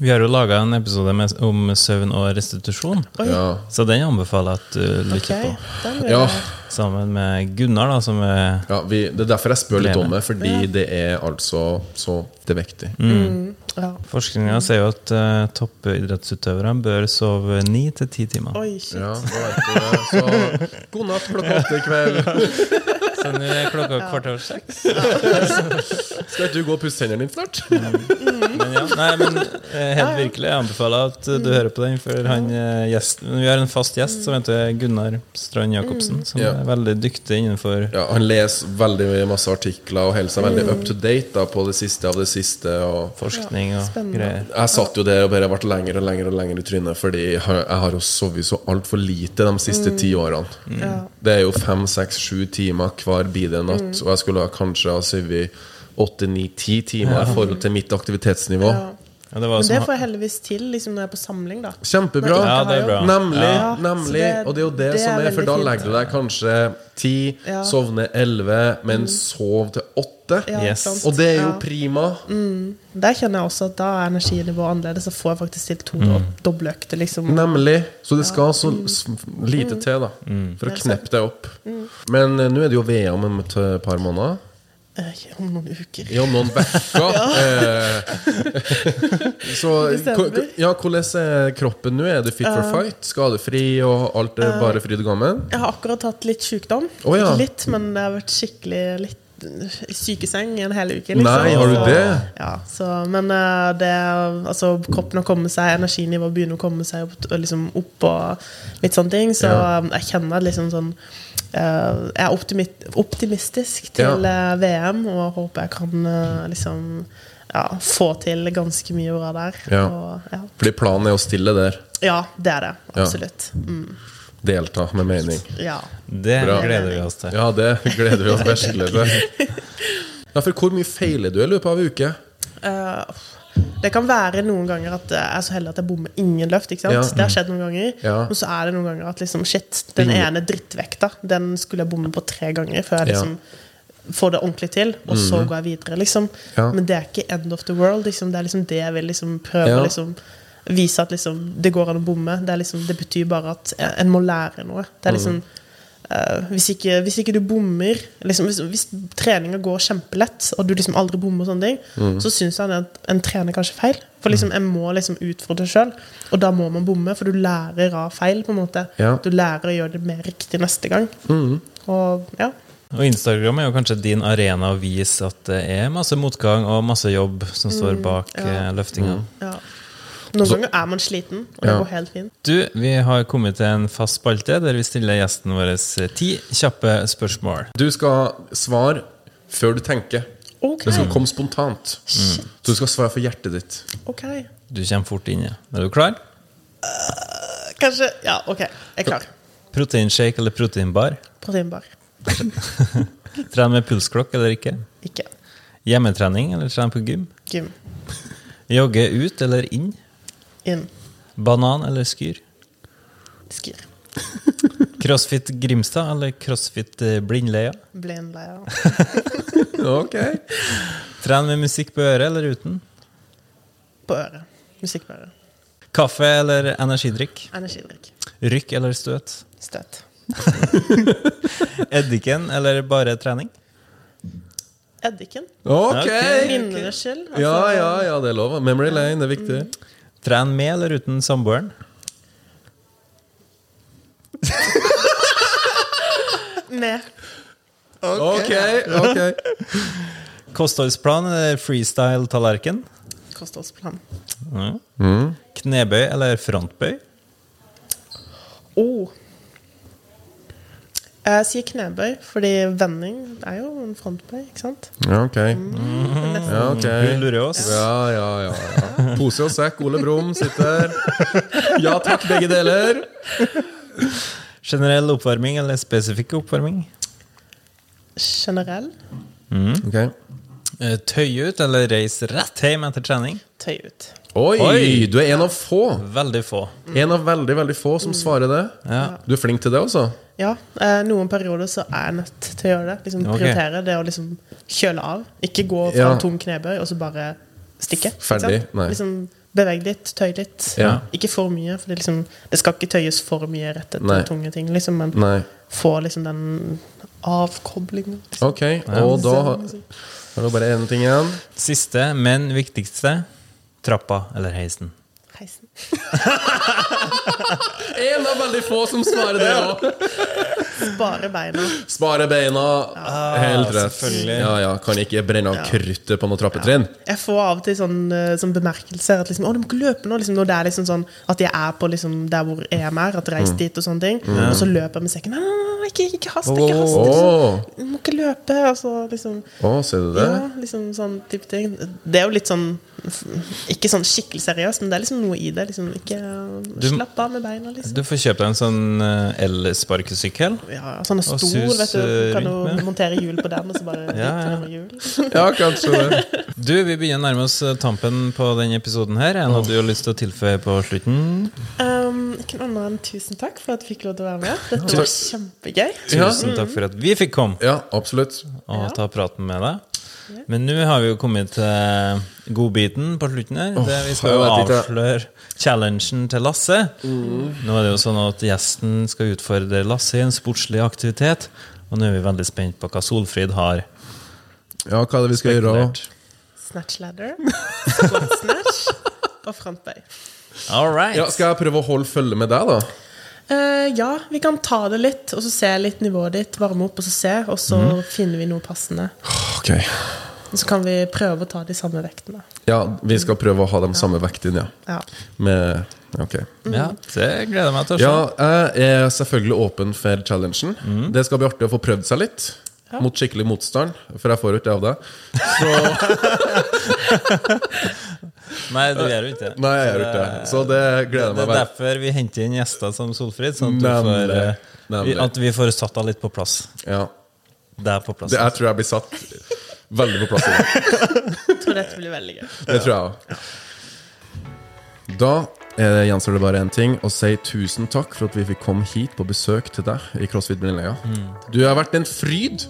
S4: Vi har jo laga en episode med, om søvn og restitusjon,
S2: Oi,
S3: Ja.
S4: så den anbefaler jeg at
S2: ok.
S4: du lytter
S2: Den vil
S3: Ja,
S2: jeg-
S4: på. Sammen med Gunnar, da, som er
S3: ja vi, Det er derfor jeg spør litt
S4: Gleder.
S3: om det, fordi det er altså så det er viktig.
S2: ja.
S4: Forskninga sier jo at eh, toppidrettsutøvere bør sove ni til ti timer.
S2: Oi, shit.
S3: Ja, da vet du det. Så god natt klokka åtte i kveld.
S4: Så nå er klokka kvart over seks.
S3: Skal ikke du gå og pusse tennene dine snart?
S4: Men ja, nei, men eh, helt virkelig, jeg anbefaler at eh, du
S2: Mm.
S4: hører på den, for han eh, gjesten Vi har en fast gjest som heter Gunnar Strand Jacobsen,
S2: Mm.
S4: som
S3: Ja.
S4: er veldig dyktig innenfor
S3: Ja, Han leser veldig masse artikler og holder seg
S2: Mm.
S3: veldig up to date da, på det siste av det siste. og
S4: forskning og
S2: spennende.
S4: greier.
S3: Jeg satt jo der og bare ble lenger og lenger og lenger i trynet, fordi jeg har- jeg har jo sovet så altfor lite de siste ti årene.
S2: Mm. Ja.
S3: Det er jo fem, seks, sju timer hver bidige
S2: Mm.
S3: natt, og jeg skulle ha kanskje ha sovet åtte, ni, ti timer i forhold til mitt aktivitetsnivå.
S2: Ja.
S4: Ja, Sånn det var
S2: Men
S4: som
S2: det
S4: han-
S2: får jeg heldigvis til liksom, når jeg er på samling, da.
S3: Kjempebra!
S2: Nei,
S4: Ja, det er bra.
S3: Nemlig,
S2: Ja.
S3: nemlig.
S2: Så det-
S3: og det er jo det,
S2: det
S3: som
S2: er
S3: er, for da
S2: veldig fint.
S3: legger du deg kanskje ti,
S2: Ja. Mm.
S3: sovner elleve, men sov til åtte.
S2: Ja,
S4: Yes.
S2: ikke sant?
S3: Og det er jo
S2: Ja.
S3: prima.
S2: Der kjenner jeg også at da er energinivået annerledes. Da får jeg faktisk til to mm. doble økter, liksom.
S3: Nemlig. Så det skal så s- lite til da for å
S2: Mm. Det er sant. Mm.
S3: kneppe deg opp. Men eh, nå er det jo VM om et eh, par måneder.
S2: Eh, Om noen uker.
S3: Ja, noen uker. Eh, så
S2: Desember.
S3: ko- ja, hvordan er kroppen nå? Er du fit for fight? Skadefri og alt er bare fryd og gammen?
S2: Jeg har akkurat hatt litt sykdom.
S3: Å, ja.
S2: Ikke litt, men det har vært skikkelig litt sykeseng i en hel uke. liksom.
S3: Nei, har du
S2: Så-
S3: det?
S2: Ja, så, men eh, det altså, kroppen har kommet seg, energinivået begynner å komme seg opp, og liksom opp og litt sånne ting. Så
S3: Ja.
S2: eh, jeg kjenner liksom sånn eh, Jeg er optimi- optimistisk til eh, VM og håper jeg kan eh, liksom ja, få til ganske mye bra der.
S3: Ja.
S2: Og, ja.
S3: Fordi planen er å stille der.
S2: ja, det er det.
S3: Ja.
S2: Absolutt. Mm,
S3: Delta med mening.
S2: ja.
S4: Det
S3: Bra.
S4: gleder vi oss til.
S3: Ja, det gleder vi oss virkelig til. Ja, for hvor mye feiler du i løpet av ei uke?
S2: Eh, det kan være noen ganger at jeg er så heldig at jeg bommer ingen løft. ikke sant?
S3: Ja.
S2: Det har skjedd noen ganger.
S3: Ja.
S2: Og så er det noen ganger at liksom, shit, den
S3: Ingen-
S2: ene drittvekta Den skulle jeg bomme på tre ganger før jeg
S3: Ja. Mhm.
S2: liksom får det ordentlig til. Og så går jeg videre, liksom.
S3: Ja.
S2: Men det er ikke end of the world. Liksom. Det er liksom det jeg vil liksom prøve
S3: Ja.
S2: å liksom, vise at liksom, det går an å bomme. Det, er liksom, det betyr bare at eh, en må lære noe. Det
S3: Mhm.
S2: er liksom Eh, hvis, ikke, hvis ikke du bommer liksom, Hvis, hvis treninga går kjempelett, og du liksom aldri bommer, og sånne ting
S3: Mm.
S2: så syns han at en trener kanskje feil. For liksom, en må liksom utfordre sjøl, og da må man bomme, for du lærer av feil. på en måte
S3: Ja. Mm.
S2: Du lærer å gjøre det mer riktig neste gang. Og ja
S4: Og Instagram er jo kanskje din arena å vise at det er masse motgang og masse jobb som står bak
S2: Mm, ja.
S4: eh, løftinga.
S3: Mm.
S2: ja. Noen ganger er man sliten, og det
S3: Altså- Ja.
S2: går helt fint.
S4: Du, vi har kommet til en fast spalte der vi stiller gjesten vår eh, ti kjappe spørsmål.
S3: Du skal svare før du tenker.
S2: Ok,
S3: Det skal komme spontant. Du skal svare for hjertet ditt.
S2: ok
S4: Du kommer fort inn i. Er du klar?
S2: Kanskje Ja, ok, jeg er klar.
S4: Proteinshake eller proteinbar?
S2: Proteinbar.
S4: Tren med pulsklokk eller ikke?
S2: Ikke.
S4: Hjemmetrening eller tren på gym?
S2: Gym.
S4: Jogge ut eller inn?
S2: Inn.
S4: Banan eller skyr?
S2: Skir.
S4: Crossfit Grimstad eller Crossfit eh, Blindleia?
S2: Blindleier.
S3: Ok.
S4: Tren med musikk på øret eller uten?
S2: På øret. Musikk på øret.
S4: Kaffe eller energidrikk?
S2: Energidrikk.
S4: Rykk eller støt?
S2: Støt.
S4: Eddiken eller bare trening?
S2: Eddiken.
S3: Ok!
S2: Minnenes skyld. Altså,
S3: Ja, ja, ja, det er lov. Memory lane, det er viktig.
S4: Tren med eller uten samboeren?
S2: Med.
S3: Ok, ok.
S4: Kostholdsplan eller freestyle-tallerken?
S2: Kostholdsplan.
S4: Ja.
S3: Mm.
S4: Knebøy eller frontbøy?
S2: Oh. Jeg sier knebøy, fordi vending er jo en frontbøy, ikke sant?
S3: Ja, ok. Mhm. Ja, ok.
S4: Mm. Hun lurer oss.
S3: Ja, ja, ja. ja. Pose og sekk, Ole Brumm sitter. Ja takk, begge deler.
S4: Generell oppvarming eller spesifikk oppvarming?
S2: Generell
S3: Ok.
S4: Eh, Tøy ut eller reis rett hjem etter trening?
S2: tøy ut.
S3: Oi,
S4: Oi.
S3: du er en av få.
S4: Veldig få.
S3: En av veldig, veldig få som svarer det.
S4: Ja.
S3: Du er flink til det, altså.
S2: Ja, eh, noen perioder så er jeg nødt til å gjøre det. Liksom
S4: Ok.
S2: Prioritere det å liksom kjøle av. Ikke gå fra
S3: Ja.
S2: en tom knebøy og så bare stikke. ikke
S3: Ferdig,
S2: sant?
S3: nei.
S2: Liksom beveg litt, tøy litt.
S3: Ja.
S2: Ikke for mye, for det, liksom, det skal ikke tøyes for mye rett etter
S3: Nei.
S2: tunge ting. Liksom, men
S3: Nei.
S2: få liksom den avkoblingen. Liksom.
S3: Ok, og da har har vi bare én ting igjen.
S4: Siste, men viktigste. Trappa eller heisen?
S2: Heisen.
S3: En av veldig få som svarer det òg.
S2: Spare beina.
S3: Spare beina. Helt rett.
S4: Ah, selvfølgelig.
S3: Ja, ja, Kan ikke brenne av kruttet på noe trappetrinn.
S2: Jeg får av og til sånn, eh, sånn bemerkelser at liksom, å, du må ikke løpe nå. Liksom, når det er liksom sånn at jeg er på liksom, der hvor EM er, at jeg reiser dit og sånne ting. Og så løper jeg med sekken. Nei, nei, nei, nei, ikke, ikke hast, ikke hast.
S3: Å,
S2: Liksom. Du må ikke løpe. Altså, liksom,
S3: å, ser du det?
S2: ja, liksom sånn type ting. Det er jo litt sånn Ikke sånn skikkelig seriøst, men det er liksom noe i det. Liksom, ikke
S4: Du-
S2: slapp av med beina, liksom.
S4: Du får kjøpe deg en sånn eh, el-sparkesykkel.
S2: Ja, sånn er
S4: Og
S2: stor,
S4: sus, eh,
S2: vet du. Du kan
S4: rundt
S2: jo
S4: med.
S2: montere hjul på den, og så bare
S4: Ja, ja.
S2: dytte den i hjul.
S3: Ja, kanskje det.
S4: Du, Vi begynner å nærme oss eh, tampen på denne episoden. her Er det noe du har lyst til å tilføye på slutten?
S2: Um, ikke noe annet enn tusen takk for at jeg fikk lov til å være med. Dette var kjempegøy.
S3: Ja.
S4: Tusen takk for at vi fikk komme
S3: Ja, absolutt.
S4: og
S2: Ja.
S4: ta praten med deg. Men nå har vi jo kommet til godbiten på slutten her. Det vi skal
S3: jeg
S4: jo
S3: vet ikke. Mm.
S4: avsløre challengen til Lasse. Nå er det jo sånn at gjesten skal utfordre Lasse i en sportslig aktivitet. Og nå er vi veldig spent på hva Solfrid har
S3: Ja, hva er det vi skal gjøre?
S4: dekorert.
S2: Snatch ladder, squat snatch og frontbøy.
S4: All right.
S3: Ja, skal jeg prøve å holde følge med deg, da?
S2: Eh, ja, vi kan ta det litt, og så se litt nivået ditt. Varme opp, og så se. Og så
S4: Mhm.
S2: finner vi noe passende.
S3: Ok.
S2: Og så kan vi prøve å ta de samme vektene.
S3: Ja, vi skal prøve å ha dem samme vekten, ja.
S2: Ja.
S3: Med Ok.
S4: Ja, det gleder jeg meg til å se.
S3: Ja, jeg er selvfølgelig åpen for challengen. Det skal bli artig å få prøvd seg litt. Mot skikkelig motstand, for jeg får jo ikke det av deg.
S4: Nei, du gjør jo ikke det.
S3: Nei, jeg gjør ikke det. Så det gleder jeg
S4: Det
S3: meg
S4: er
S3: vel.
S4: derfor vi henter inn gjester som Solfrid, sånn at, du får,
S3: Nemlig.
S4: eh, vi-
S3: Nemlig.
S4: at vi får satt deg litt på plass.
S3: Ja.
S4: Det er på plass.
S3: Det, jeg tror jeg blir satt veldig på plass i dag.
S2: Jeg tror dette blir veldig gøy.
S3: Det tror jeg òg. Da eh, gjenstår det bare én ting, å si tusen takk for at vi fikk komme hit på besøk til deg i CrossFit Brynleia. Du har vært en fryd!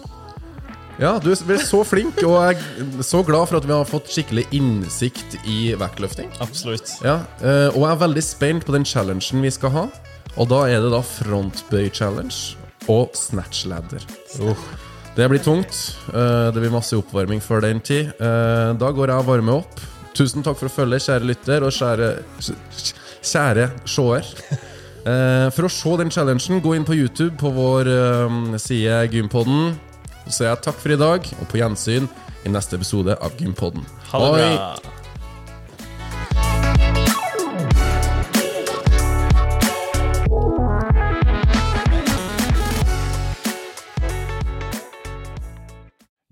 S3: Ja, du er så flink, og jeg er så glad for at vi har fått skikkelig innsikt i vektløfting.
S4: Absolutt.
S3: Ja, eh, og jeg er veldig spent på den challengen vi skal ha. Og da er det da frontbøy-challenge og snatch ladder. Det blir tungt. eh, det blir masse oppvarming før den tid. Eh, da går jeg og varmer opp. Tusen takk for å følge, kjære lytter og kjære Kjære seer. Eh, for å se den challengen, gå inn på YouTube på vår eh, side Gympodden. Så sier jeg takk for i dag, og på gjensyn i neste episode av Gympodden.
S4: Ha det bra.